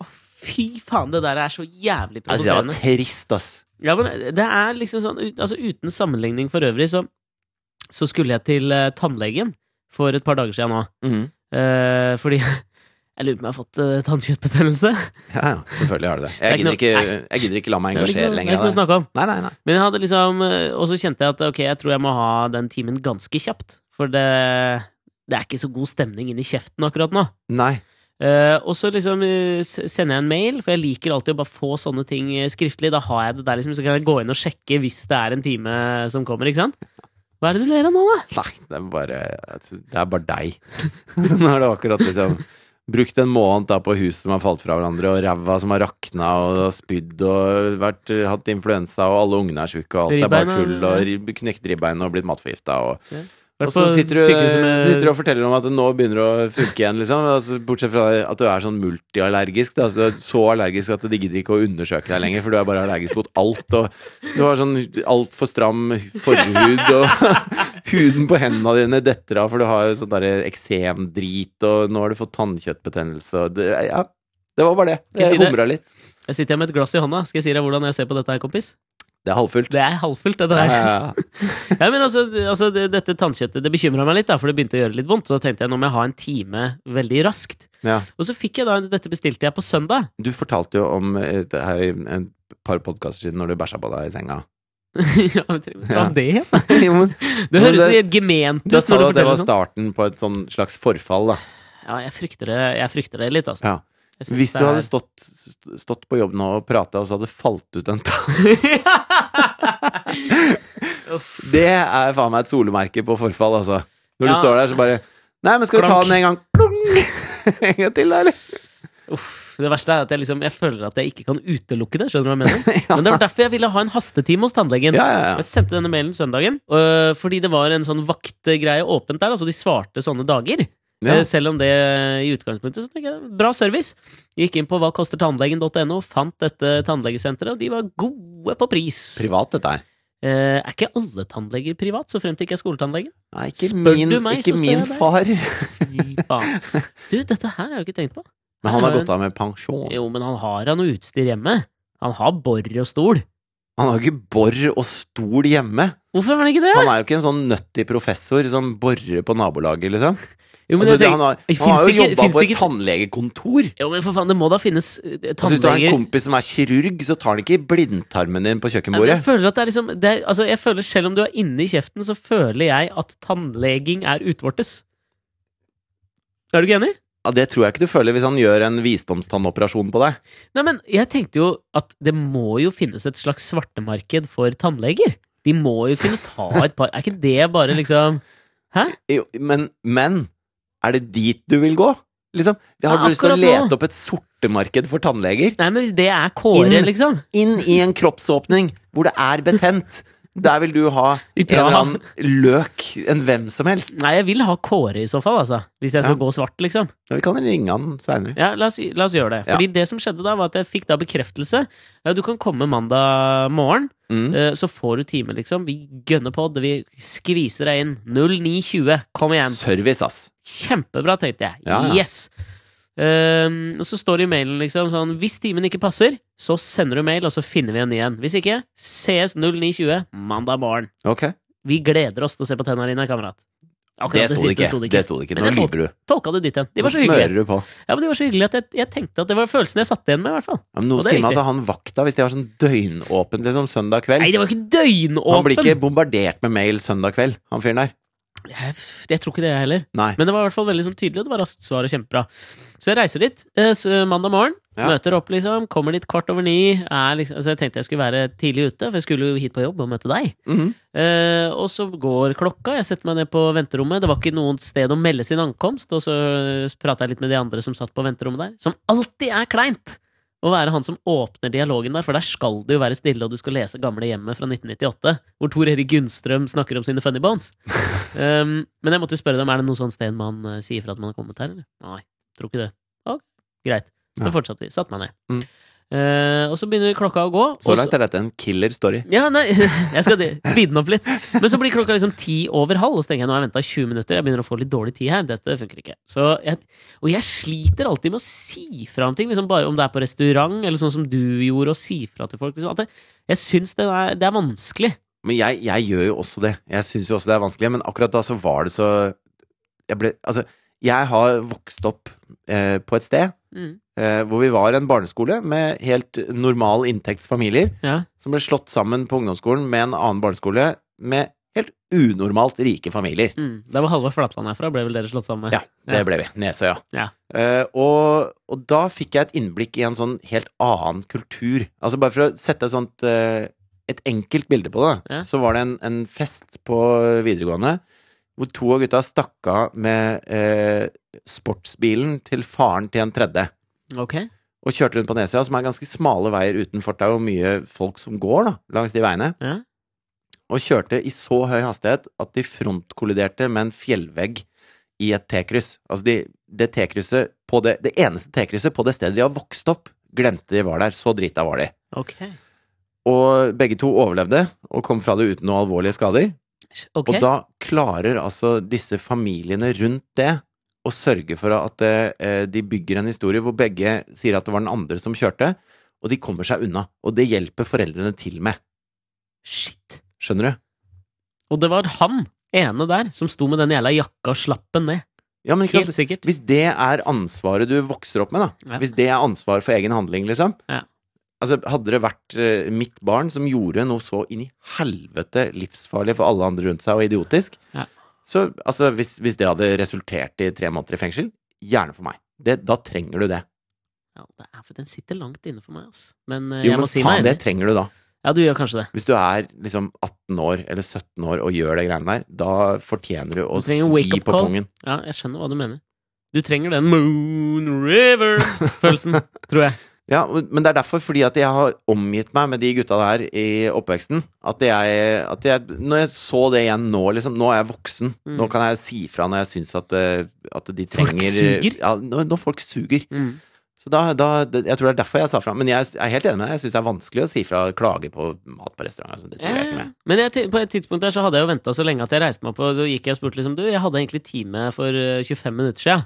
Å, fy faen, det der er så jævlig
Altså, det
provoserende.
var trist, ass.
Ja, men det er liksom sånn ut- Altså, uten sammenligning for øvrig, så, så skulle jeg til eh, tannlegen for et par dager siden nå. Eh, fordi jeg lurer på om jeg har fått eh, tannkjøttbetennelse.
Ja, ja, selvfølgelig har du det.
Det er
Jeg
ikke
gidder
noe-
ikke,
Nei.
jeg gidder ikke la meg
Det er ikke noe-
engasjere
det er
lenger
ikke
av
noe å
det.
snakke om.
Nei, nei, nei.
Men jeg hadde liksom Og så kjente jeg at ok, jeg tror jeg må ha den timen ganske kjapt. For det, det er ikke så god stemning inni kjeften akkurat nå.
Nei.
Eh, og så liksom eh, s- sender jeg en mail, for jeg liker alltid å bare få sånne ting eh, skriftlig. Da har jeg det der, liksom, så kan jeg gå inn og sjekke hvis det er en time som kommer. ikke sant? Hva er det du ler av nå, da?
nei det, er bare, det er bare deg. Nå er det akkurat liksom Brukt en måned da på hus som har falt fra hverandre, og ræva som har rakna, og spydd, og vært, hatt influensa, og alle ungene er sjuke, og alt er bare
Ribbeina,
tull,
ja.
og rib- knekt ribbeina og blitt matforgifta, og
Vært
og så
på
sitter du, eh,
sykehuset med-
sitter du og forteller om at det nå begynner å funke igjen, liksom. Altså, bortsett fra at du er sånn multiallergisk. Da. Altså, du er så allergisk at de gidder ikke å undersøke deg lenger, for du er bare allergisk mot alt. Og du har sånn altfor stram forhud, og huden på hendene dine detter av, for du har jo sånn derre eksemdrit, og nå har du fått tannkjøttbetennelse, og det, ja. Det var bare det.
Skal jeg si
Jeg
det?
humra litt.
Jeg sitter her med et glass i hånda. Skal jeg si deg hvordan jeg ser på dette her, kompis?
Det er halvfullt.
Det er halvfullt, dette her.
Ja, ja, ja.
Ja, men altså, altså det, Dette tannkjøttet det bekymra meg litt, da, for det begynte å gjøre litt vondt. Så da tenkte jeg nå må jeg ha en time veldig raskt.
Ja.
Og så fikk jeg da Dette bestilte jeg på søndag.
Du fortalte jo om eh, det her i et par podkaster siden når du bæsja på deg i senga.
ja, men tre- Hva
Ja.
var det?
Jo, men
Det
Men
høres
det-
litt gement ut
Da sa
når du
du at det var
forteller sånn.
starten på et sånn slags forfall, da.
Ja, jeg frykter det, jeg frykter det litt, altså.
Ja.
Jeg synes
Hvis
det
du hadde
er-
stått, stått på jobb nå og prata, og så hadde det falt ut en tann Det er faen meg et solemerke på forfall, altså. Når
Ja.
du står der, så bare Nei, men skal vi ta
Plank.
den en gang? Plong! En gang til, da, eller?
Uff, det verste er at jeg, liksom, jeg føler at jeg ikke kan utelukke det. Skjønner du hva jeg mener? Men det var derfor jeg ville ha en hastetime hos tannlegen.
Ja, ja, ja.
Jeg sendte denne mailen søndagen øh, fordi det var en sånn vaktgreie åpent der. Altså, de svarte sånne dager.
Ja.
Eh, Selv om det i utgangspunktet så tenker jeg, bra service. Gikk inn på hvakostertannlegen.no, fant dette tannlegesenteret, og de var gode på pris.
Privat, dette her.
Eh, er ikke alle tannleger privat, så frem til ikke er skoletannlegen?
Nei, ikke
Spør
min,
du meg, så
ikke
spør
min
jeg deg.
far.
Fy faen. Du, dette her har jeg jo ikke tenkt på.
Men han har
Nei.
gått av med pensjon.
Jo, men han har da noe utstyr hjemme. Han har bor og stol.
Han har jo ikke bor og stol hjemme.
Hvorfor har han ikke det?
Han er jo ikke en sånn nøttig professor som borer på nabolaget, liksom.
Jo, men
Altså,
jeg
det,
tenker-
han har,
Finns
han har
det
jo
ikke-
jobba
finns
på
det
et
ikke-
tannlegekontor.
Jo, men for faen, det må da finnes eh,
Altså, hvis du har en
tannleger
kompis som er kirurg, så tar han ikke blindtarmen din på
Ja, men
kjøkkenbordet.
Jeg føler at det er liksom det er, altså, Jeg føler Selv om du er inne i kjeften, så føler jeg at tannleging er utvortes. Er du ikke enig?
Ja, det tror jeg ikke du føler hvis han gjør en visdomstannoperasjon på deg.
Nei, men jeg tenkte jo at det må jo finnes et slags svartemarked for tannleger. De må jo kunne ta et par Er ikke det bare liksom
Jo, Men, men er det dit du vil gå? Liksom, Har du
Ja,
lyst til å
akkurat nå.
lete opp et sortemarked for tannleger?
Nei, men hvis det er Kåre,
Inn-
liksom
Inn i en kroppsåpning hvor det er betent. Der vil du ha
I
en eller
Praha.
annen løk, en hvem som helst.
Nei, jeg vil ha Kåre i så fall, altså. Hvis jeg skal
Ja.
gå svart, liksom.
Ja, vi kan ringe han seinere.
Ja, la oss, la oss gjøre det.
Ja.
Fordi det som skjedde da, var at jeg fikk da bekreftelse. Ja, du kan komme mandag morgen.
Mm.
Eh, Så får du time, liksom. Vi gønner på det. Vi skviser deg inn. 09.20. Kom igjen.
Service, ass.
Kjempebra, tenkte jeg.
Ja, ja.
Yes! Ehm, og så står det i mailen liksom sånn Hvis timen ikke passer, så sender du mail, og så finner vi en ny en. Hvis ikke, ses 09.20 mandag morgen.
Ok.
Vi gleder oss til å se på tenna dine, kamerat.
Det
Akkurat det,
sto det
siste
ikke.
sto det
Det
ikke.
sto det ikke.
Men
Nå
jeg
lyver du.
Tolka det dit igjen. De
Nå
var så hyggelige.
smører du på.
Ja, men de var så hyggelige at jeg, jeg tenkte at det var følelsen jeg satt igjen med, i hvert fall.
Ja, men noe
Og det er
sier meg
riktig.
at han vakta, hvis de har sånn døgnåpent liksom søndag kveld
Nei, det var ikke
Han blir ikke
døgnåpen!
bombardert med mail søndag kveld, han fyren der.
Jeg, jeg tror ikke det, jeg heller.
Nei.
Men det var i hvert fall veldig sånn tydelig, og det var raskt svar og kjempebra. Så jeg reiser dit eh, så mandag morgen,
Ja.
møter opp, liksom. Kommer dit kvart over ni. Er liksom, altså jeg tenkte jeg skulle være tidlig ute, for jeg skulle jo hit på jobb og møte deg.
Mhm.
Eh, og så går klokka, jeg setter meg ned på venterommet. Det var ikke noe sted å melde sin ankomst, og så prata jeg litt med de andre som satt på venterommet der. Som alltid er kleint! Å være han som åpner dialogen der, for der skal det jo være stille, og du skal lese Gamle hjemmet fra 1998, hvor Tor Erik Gunnstrøm snakker om sine funny bones. Um, men jeg måtte jo spørre dem, er det noe sånt sted man eh, sier fra at man har kommet her, eller? Nei, tror ikke det. Ok, greit. Så
Ja.
fortsatte vi. Satte meg ned.
Mm.
Eh, og så begynner klokka å gå.
Så
og
langt er dette en killer story.
ja, nei, jeg skal speede den opp litt. Men så blir klokka liksom ti over halv, og så tenker jeg nå har jeg venta 20 minutter. Jeg begynner å få litt dårlig tid her. Dette funker ikke. Så jeg, og jeg sliter alltid med å si fra om ting, liksom bare om det er på restaurant, eller sånn som du gjorde, å si fra til folk. Liksom, at jeg, jeg syns det er, det er vanskelig.
Men jeg, jeg gjør jo også det. Jeg syns jo også det er vanskelig, men akkurat da så var det så Jeg ble Altså, jeg har vokst opp eh, på et sted
Mm.
eh, hvor vi var en barneskole med helt normal inntektsfamilier
Ja.
som ble slått sammen på ungdomsskolen med en annen barneskole med helt unormalt rike familier.
Mm. Det var Halvard Flatland herfra, ble vel dere slått sammen med?
Ja, det ble vi. Nesøya.
Ja.
Eh, og, og da fikk jeg et innblikk i en sånn helt annen kultur. Altså bare for å sette et sånt eh, et enkelt bilde på det, da,
Ja.
så var det en, en fest på videregående hvor to av gutta stakk av med eh, sportsbilen til faren til en tredje.
Ok.
Og kjørte rundt på nedsida, som er ganske smale veier uten fort. Det er jo mye folk som går da, langs de veiene.
Ja.
Og kjørte i så høy hastighet at de frontkolliderte med en fjellvegg i et T-kryss. Altså de, det T-krysset på det, det eneste T-krysset på det stedet de har vokst opp, glemte de var der. Så drita var de.
Ok.
Og begge to overlevde og kom fra det uten noe alvorlige skader.
Ok.
Og da klarer altså disse familiene rundt det å sørge for at eh, de bygger en historie hvor begge sier at det var den andre som kjørte, og de kommer seg unna. Og det hjelper foreldrene til med.
Shit.
Skjønner du?
Og det var han ene der som sto med den jævla jakka og slapp den ned.
Ja, men ikke
Helt
sant?
sikkert.
Hvis det er ansvaret du vokser opp med, da.
Ja.
Hvis det er ansvar for egen handling, liksom.
Ja.
Altså, hadde det vært eh, mitt barn som gjorde noe så inn i helvete livsfarlig for alle andre rundt seg, og idiotisk,
Ja.
så altså, hvis, hvis det hadde resultert i tre måneder i fengsel, gjerne for meg. Det, da trenger du det.
Ja, det er for den sitter langt inne for meg, ass. Men eh,
Jo,
jeg
men
må si
faen,
meg
det
enig.
trenger du da.
Ja, du gjør kanskje det.
Hvis du er liksom 18 år eller 17 år og gjør de greiene der, da fortjener du å
Du
svi
trenger en wake-up
på
call.
pungen.
Ja, jeg skjønner hva du mener. Du trenger den Moon River-følelsen, tror jeg.
Ja, men det er derfor, fordi at jeg har omgitt meg med de gutta der i oppveksten, at jeg, at jeg Når jeg så det igjen nå, liksom Nå er jeg voksen.
Mm.
Nå kan jeg si fra når jeg syns at, eh, at de
Folk
trenger
suger?
Ja, når, når folk suger.
Mm.
Så da, da det- Jeg tror det er derfor jeg sa fra. Men jeg er helt enig med deg. Jeg syns det er vanskelig å si fra og klage på mat på restaurant. Altså, det tror jeg ikke
Eh,
med.
Men jeg, te- på et tidspunkt der så hadde jeg jo venta så lenge at jeg reiste meg opp, og så gikk jeg og spurte liksom Du, jeg hadde egentlig time for eh, 25 minutter sia.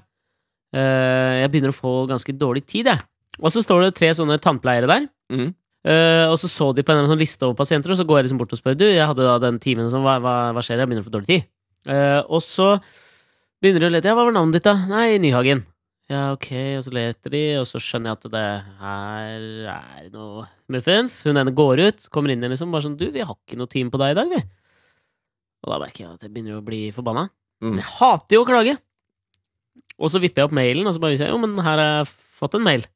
Jeg begynner å få ganske dårlig tid, jeg. Og så står det tre sånne tannpleiere der.
Mhm.
Eh, og så så de på en eller annen sånn liste over pasienter, og så går jeg liksom bort og spør Du, jeg hadde da den timen, og sånn, hva, hva, hva skjer? Jeg begynner å få dårlig tid. Eh, og så begynner de å lete. Ja, hva var navnet ditt, da? Nei, Nyhagen. Ja, ok, og så leter de, og så skjønner jeg at det her er noe muffins. Hun ene går ut, kommer inn igjen liksom, bare sånn Du, vi har ikke noe team på deg i dag, vi. Og da merker jeg at jeg begynner å bli forbanna.
Mm.
Jeg hater jo å klage! Og så vipper jeg opp mailen, og så bare viser jeg jo, men her har jeg fått en mail.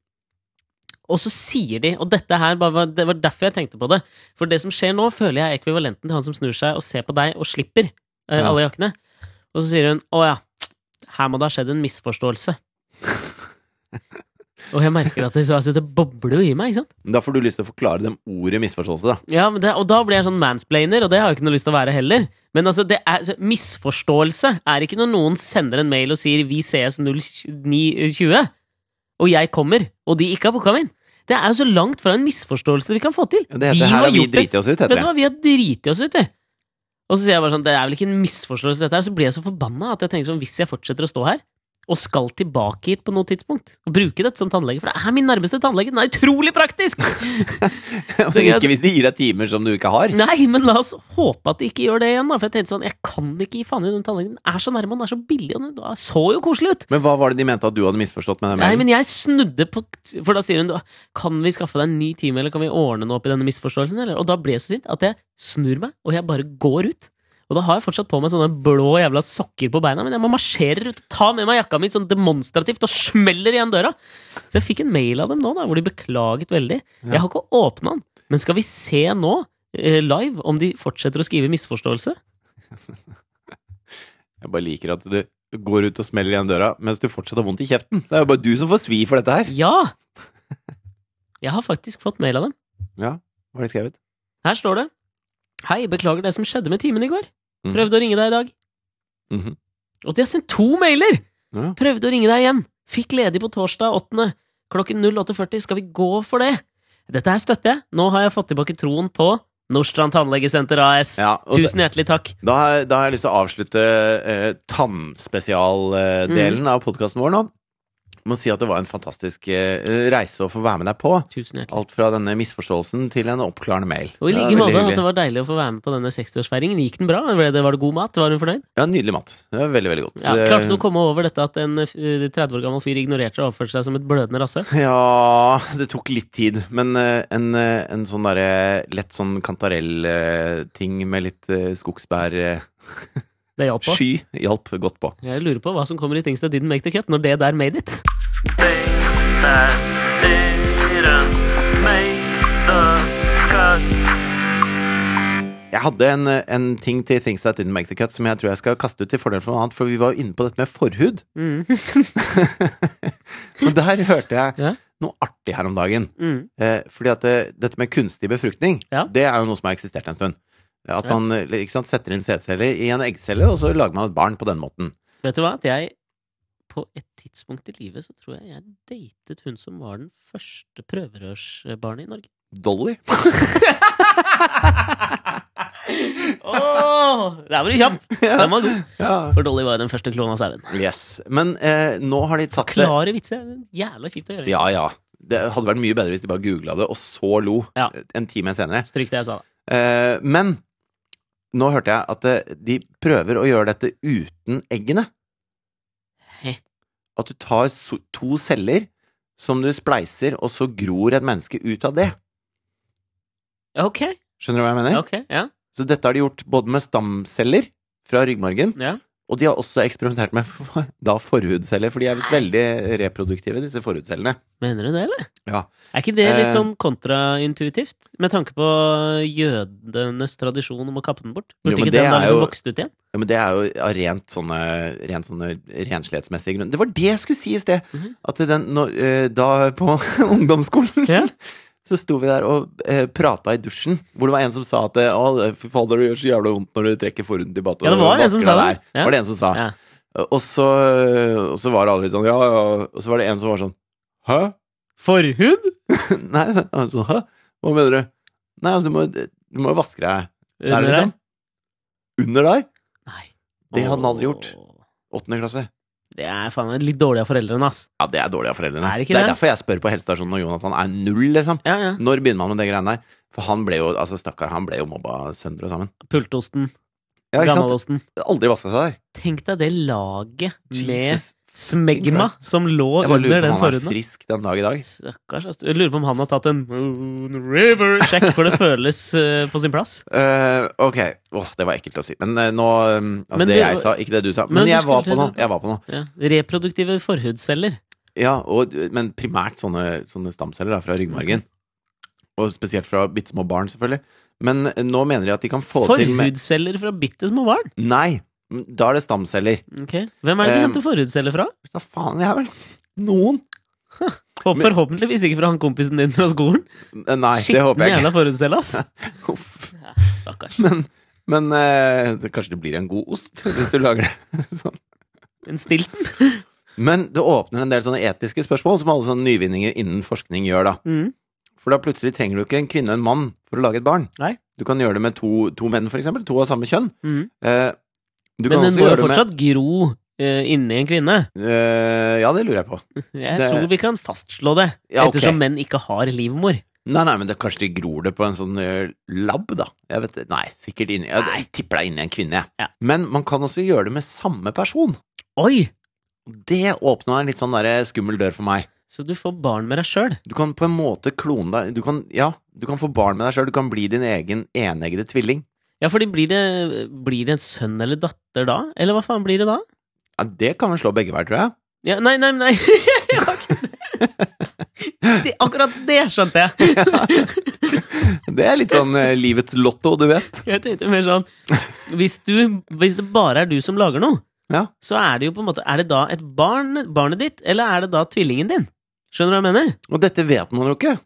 Og så sier de, og dette her bare var, det var derfor jeg tenkte på det For det som skjer nå, føler jeg er ekvivalenten til han som snur seg og ser på deg og slipper eh,
Ja.
alle jakkene. Og så sier hun å ja, her må det ha skjedd en misforståelse. og jeg merker at det, så- altså, det bobler jo i meg, ikke sant?
Men Da får du lyst til å forklare dem ordet misforståelse, da.
Ja, men det, Og da blir jeg sånn mansplainer, og det har jeg ikke noe lyst til å være heller. Men altså, det er, så, misforståelse er ikke når noen sender en mail og sier 'vi ses 09.20', eh, og jeg kommer, og de ikke har booka meg inn. Det er jo så langt fra en misforståelse vi kan få til.
Ja, Det heter
de
her
har
har vi
gjort det.
driti oss ut,
Vet
heter
du
det.
hva, vi har driti oss ut, vi. Og så sier jeg bare sånn, det er vel ikke en misforståelse dette her, så blir jeg så forbanna at jeg tenker sånn, hvis jeg fortsetter å stå her, og skal tilbake hit på noe tidspunkt, og bruke dette som tannlege, for det er min nærmeste tannlege, den er utrolig praktisk!
Men ikke hvis de gir deg timer som du ikke har.
Nei, men la oss håpe at de ikke gjør det igjen, da, for jeg tenkte sånn, jeg kan ikke gi faen i den tannlegen, den er så nærme, og den er så billig, og den så jo koselig ut!
Men hva var det de mente at du hadde misforstått med den
Nei,
mailen?
men jeg snudde på For da sier hun Kan vi skaffe deg en ny time, eller kan vi ordne noe opp i denne misforståelsen? Eller? Og da ble jeg så sint at jeg snur meg, og jeg bare går ut. Og da har jeg fortsatt på meg sånne blå jævla sokker på beina, men jeg må marsjere ut, ta med meg jakka mi sånn demonstrativt og smeller igjen døra. Så jeg fikk en mail av dem nå, da, hvor de beklaget veldig.
Ja.
Jeg har ikke åpna den, men skal vi se nå, eh, live, om de fortsetter å skrive misforståelse?
Jeg bare liker at du går ut og smeller igjen døra mens du fortsatt har vondt i kjeften. Det er jo bare du som får svi for dette her.
Ja! Jeg har faktisk fått mail av dem.
Ja, hva har de skrevet?
Her står det Hei, beklager det som skjedde med timen i går.
Mhm.
Prøvde å ringe deg i dag.
Mhm.
Og de har sendt to mailer!
Ja.
Prøvde å ringe deg igjen. Fikk ledig på torsdag 8. Klokken 08.40. Skal vi gå for det? Dette her støtter jeg. Nå har jeg fått tilbake troen på Nordstrand Tannlegesenter AS.
Ja, og da,
Tusen hjertelig takk.
da, har- da har jeg lyst til å avslutte eh,
Mm.
tannspesialdelen eh, av podkasten vår nå. Jeg må si at det var en fantastisk eh, reise å få være med deg på.
Tusen hjertelig.
Alt fra denne misforståelsen til en oppklarende mail.
Og i
Det
like
var veldig
måte altså. at
hyggelig.
det var deilig å få være med på denne 60-årsfeiringen. Gikk den bra? Ble det- Var det god mat? Var hun fornøyd?
Ja, nydelig mat. Det var veldig, veldig godt.
Ja, klarte du å komme over dette at en eh, 30 år gammel fyr ignorerte og oppførte seg som et blødende rasshøl?
Eh, Ja, det tok litt tid, men eh, en, eh, en sånn derre lett sånn kantarell-ting eh, med litt eh, skogsbærsky
Det hjalp på.
hjalp godt på.
Jeg lurer på hva som kommer i things that didn't make the cut, når det der made it.
things that didn't make the cut.
Jeg hadde en, eh, en ting til Things That Didn't Make The Cut som jeg tror jeg skal kaste ut til fordel for noe annet, for vi var jo inne på dette med forhud.
Mm.
Og der hørte jeg
Ja.
noe artig her om dagen.
Mm.
Eh, fordi at det, dette med kunstig befruktning,
Ja.
det er jo noe som har eksistert en stund. At
Ja.
man eh, ikke sant, setter inn sædceller i en eggcelle, og så lager man et barn på den måten.
Vet du hva? At jeg på et tidspunkt i livet så tror jeg jeg datet hun som var den første prøverørsbarnet i Norge.
Dolly.
Åh, der var du kjapp! Den var god. For Dolly var den første klonen av sauen.
Yes. Men eh, nå har de tatt det
Klare vitser. Jævla kjipt å gjøre.
Ja, ja. Det hadde vært mye bedre hvis de bare googla det, og så lo
Ja.
en time senere.
Stryk det jeg sa, da.
Eh, men nå hørte jeg at eh, de prøver å gjøre dette uten eggene.
Hæ?
At du tar so to celler som du spleiser, og så gror et menneske ut av det.
Ja, Ok,
Skjønner du hva jeg mener?
ok, ja.
Så dette har de gjort både med stamceller fra ryggmargen,
ja.
og de har også eksperimentert med for- da forhudceller, for de er visst veldig reproduktive, disse forhudcellene.
Mener du det, eller?
Ja.
Er ikke det litt
Eh.
sånn kontraintuitivt? Med tanke på jødenes tradisjon om å kappe den bort?
Jo,
Burde
men
ikke den
det
da
er
liksom
jo-
vokst ut igjen?
Ja, men det er jo av rent sånne, rent sånne renslighetsmessige grunner. Det var det jeg skulle si i sted!
Mhm.
At den, når, eh, da på ungdomsskolen
Ja.
så sto vi der og eh, prata i dusjen, hvor det var en som sa at eh, å, det- fy fader, det gjør så jævla vondt når du trekker forhuden tilbake.
Ja, det var en som sa det. Ja.
Ja. var det en som sa.
Ja.
Og, så, og så var alle litt sånn ja, ja, og så var det en som var sånn hæ?
Forhud?
Nei, han sånn, hæ? Hva mener du? Nei, altså, du må, du må vaske deg der,
Under
liksom. Under der?
Nei.
Det hadde den aldri gjort.
Åh.
Åttende klasse.
Det er faen meg litt dårlig av foreldrene, ass.
Ja, det er dårlig av foreldrene.
Er det ikke
det er
det?
derfor jeg spør på helsestasjonen når Jonathan er null, liksom.
Ja, ja.
Når begynner man med det greiene der? For han ble jo, altså stakkar, han ble jo mobba sønder og sammen.
Pultosten,
Ja, ikke sant?
gammalosten.
Aldri vaska seg der.
Tenk deg det laget med
Jesus.
smegma
Christ.
som lå
Jeg bare
under
lurer på
den
om han er
forhuden. da.
frisk den dag i dag.
Stakkars, ass. Jeg lurer på om han har tatt en Moon River sjekk for det føles eh, på sin plass.
Eh, ok, Åh, det var ekkelt å si. Men eh, nå um, Altså,
Men
det,
det-
jeg sa, ikke det du sa.
Men
Men,
du
jeg, var
skulle
på noe.
til-
jeg var på noe.
Ja. Reproduktive forhudceller.
Ja, og, men primært sånne, sånne stamceller da, fra ryggmargen. Og spesielt fra bitte små barn, selvfølgelig. Men eh, nå mener de at de kan få til med
Forhudceller fra bitte små barn?
Nei! Da er det stamceller.
Ok. Hvem er det de
Eh,
henter forhudceller fra?
Hva faen, jeg er vel noen?
Håp- Forhåpentligvis ikke fra han kompisen din fra skolen.
Eh, Nei, det håper jeg ikke.
jævla forhudcelle, ass.
Uff.
Ja, Stakkars.
Men, men eh, det, kanskje det blir en god ost hvis du lager det sånn.
En stilten.
Men det åpner en del sånne etiske spørsmål som alle sånne nyvinninger innen forskning gjør, da.
Mm.
For da plutselig trenger du ikke en kvinne og en mann for å lage et barn.
Nei.
Du kan gjøre det med to, to menn, for eksempel. To av samme kjønn.
Mm.
Eh, du kan
Men den
også
må jo
gjøre det med
fortsatt gro eh, inni en kvinne.
eh, Ja, det lurer jeg på.
Jeg
Det-
tror vi kan fastslå det,
Ja, ok.
ettersom menn ikke har livmor.
Nei, nei, men det, kanskje de gror det på en sånn eh, lab, da. Jeg vet, nei, sikkert inni Jeg, jeg tipper det er inni en kvinne, jeg.
Ja.
Men man kan også gjøre det med samme person.
Oi!
Det åpna en litt sånn der skummel dør for meg.
Så du får barn med deg sjøl.
Du kan på en måte klone deg Du kan, ja, du kan få barn med deg sjøl. Du kan bli din egen eneggede tvilling.
Ja, fordi blir det, blir det en sønn eller datter da? Eller hva faen blir det da?
Ja, det kan vel slå begge veier, tror jeg.
Ja, nei, nei, nei. Jeg har ikke det. Det- Akkurat det skjønte jeg.
Det er litt sånn eh, livets lotto, du vet.
Jeg tenkte mer sånn hvis, du, hvis det bare er du som lager noe,
Ja.
så er det jo på en måte Er det da et barn, barnet ditt, eller er det da tvillingen din? Skjønner du hva jeg mener?
Og dette vet man jo ikke.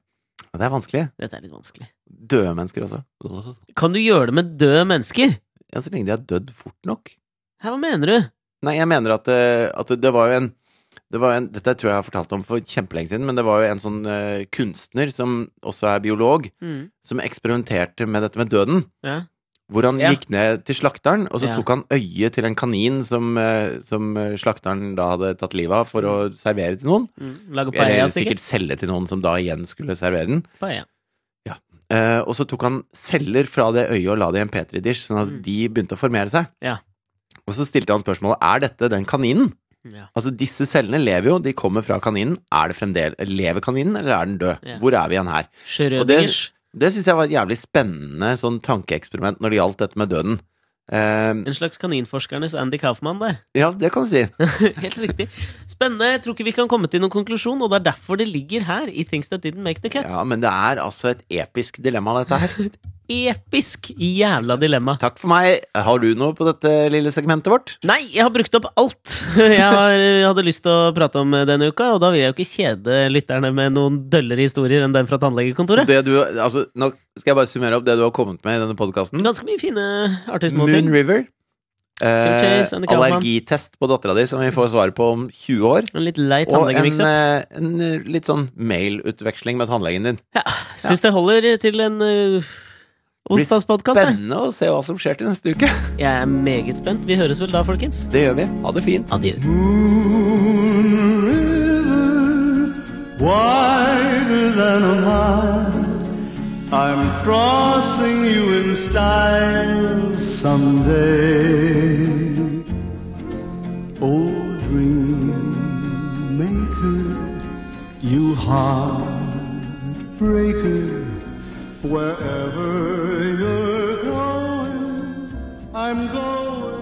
Ja, det er vanskelig.
Dette er litt vanskelig.
Døde mennesker også.
Kan du gjøre det med døde mennesker?
Ja, så lenge de har dødd fort nok.
Hæ, hva mener du?
Nei, jeg mener at, eh, at det var jo en det var en, dette tror jeg jeg har fortalt om for kjempelenge siden, men det var jo en sånn eh, kunstner som også er biolog,
Mm.
som eksperimenterte med dette med døden.
Ja.
Hvor han
Ja.
gikk ned til slakteren, og så
Ja.
tok han øyet til en kanin som, eh, som eh, slakteren da hadde tatt livet av for å servere til noen.
Mm. Lage paella,
Eller
sikkert.
sikkert selge til noen som da igjen skulle servere den.
Paella.
Eh, og så tok han celler fra det øyet og la det i en petridisj, sånn at
Mm.
de begynte å formere seg.
Ja.
Og så stilte han spørsmålet er dette den kaninen.
Ja.
Altså Disse cellene lever jo, de kommer fra kaninen. Er det fremdel, Lever kaninen, eller er den død?
Ja.
Hvor er vi igjen her?
Schrødingers.
Det syns jeg var et jævlig spennende sånn tankeeksperiment når det gjaldt dette med døden. Eh,
En slags kaninforskernes Andy Kaufman der.
ja, det kan du si.
Helt riktig. Spennende. Jeg tror ikke vi kan komme til noen konklusjon, og det er derfor det ligger her i Things That Didn't Make The Cut.
Ja, Men det er altså et episk dilemma, dette her.
episk jævla dilemma.
Takk for meg. Har du noe på dette lille segmentet vårt?
Nei, jeg har brukt opp alt jeg har, hadde lyst til å prate om denne uka, og da vil jeg jo ikke kjede lytterne med noen døllere historier enn den fra tannlegekontoret.
Det du, altså, nå skal jeg bare summere opp det du har kommet med i denne podkasten.
Ganske mye fine artige
Moon
småting.
River. Eh,
Chase and the Cowman.
allergitest på dattera di, som vi får svar på om 20 år.
En litt lei
Og en,
tannlegemikse.
eh, en eh, litt sånn mailutveksling med tannlegen din.
Ja, Syns det holder til en uh, onsdagspodkast. jeg.
Spennende å se hva som skjer til neste uke.
Jeg er meget spent. Vi høres vel da, folkens.
Det gjør vi. Ha det fint.
Adjø.
Moon River, wider than a mile. I'm crossing you in style someday. Oh, dream maker, you heartbreaker, wherever you're going, I'm going.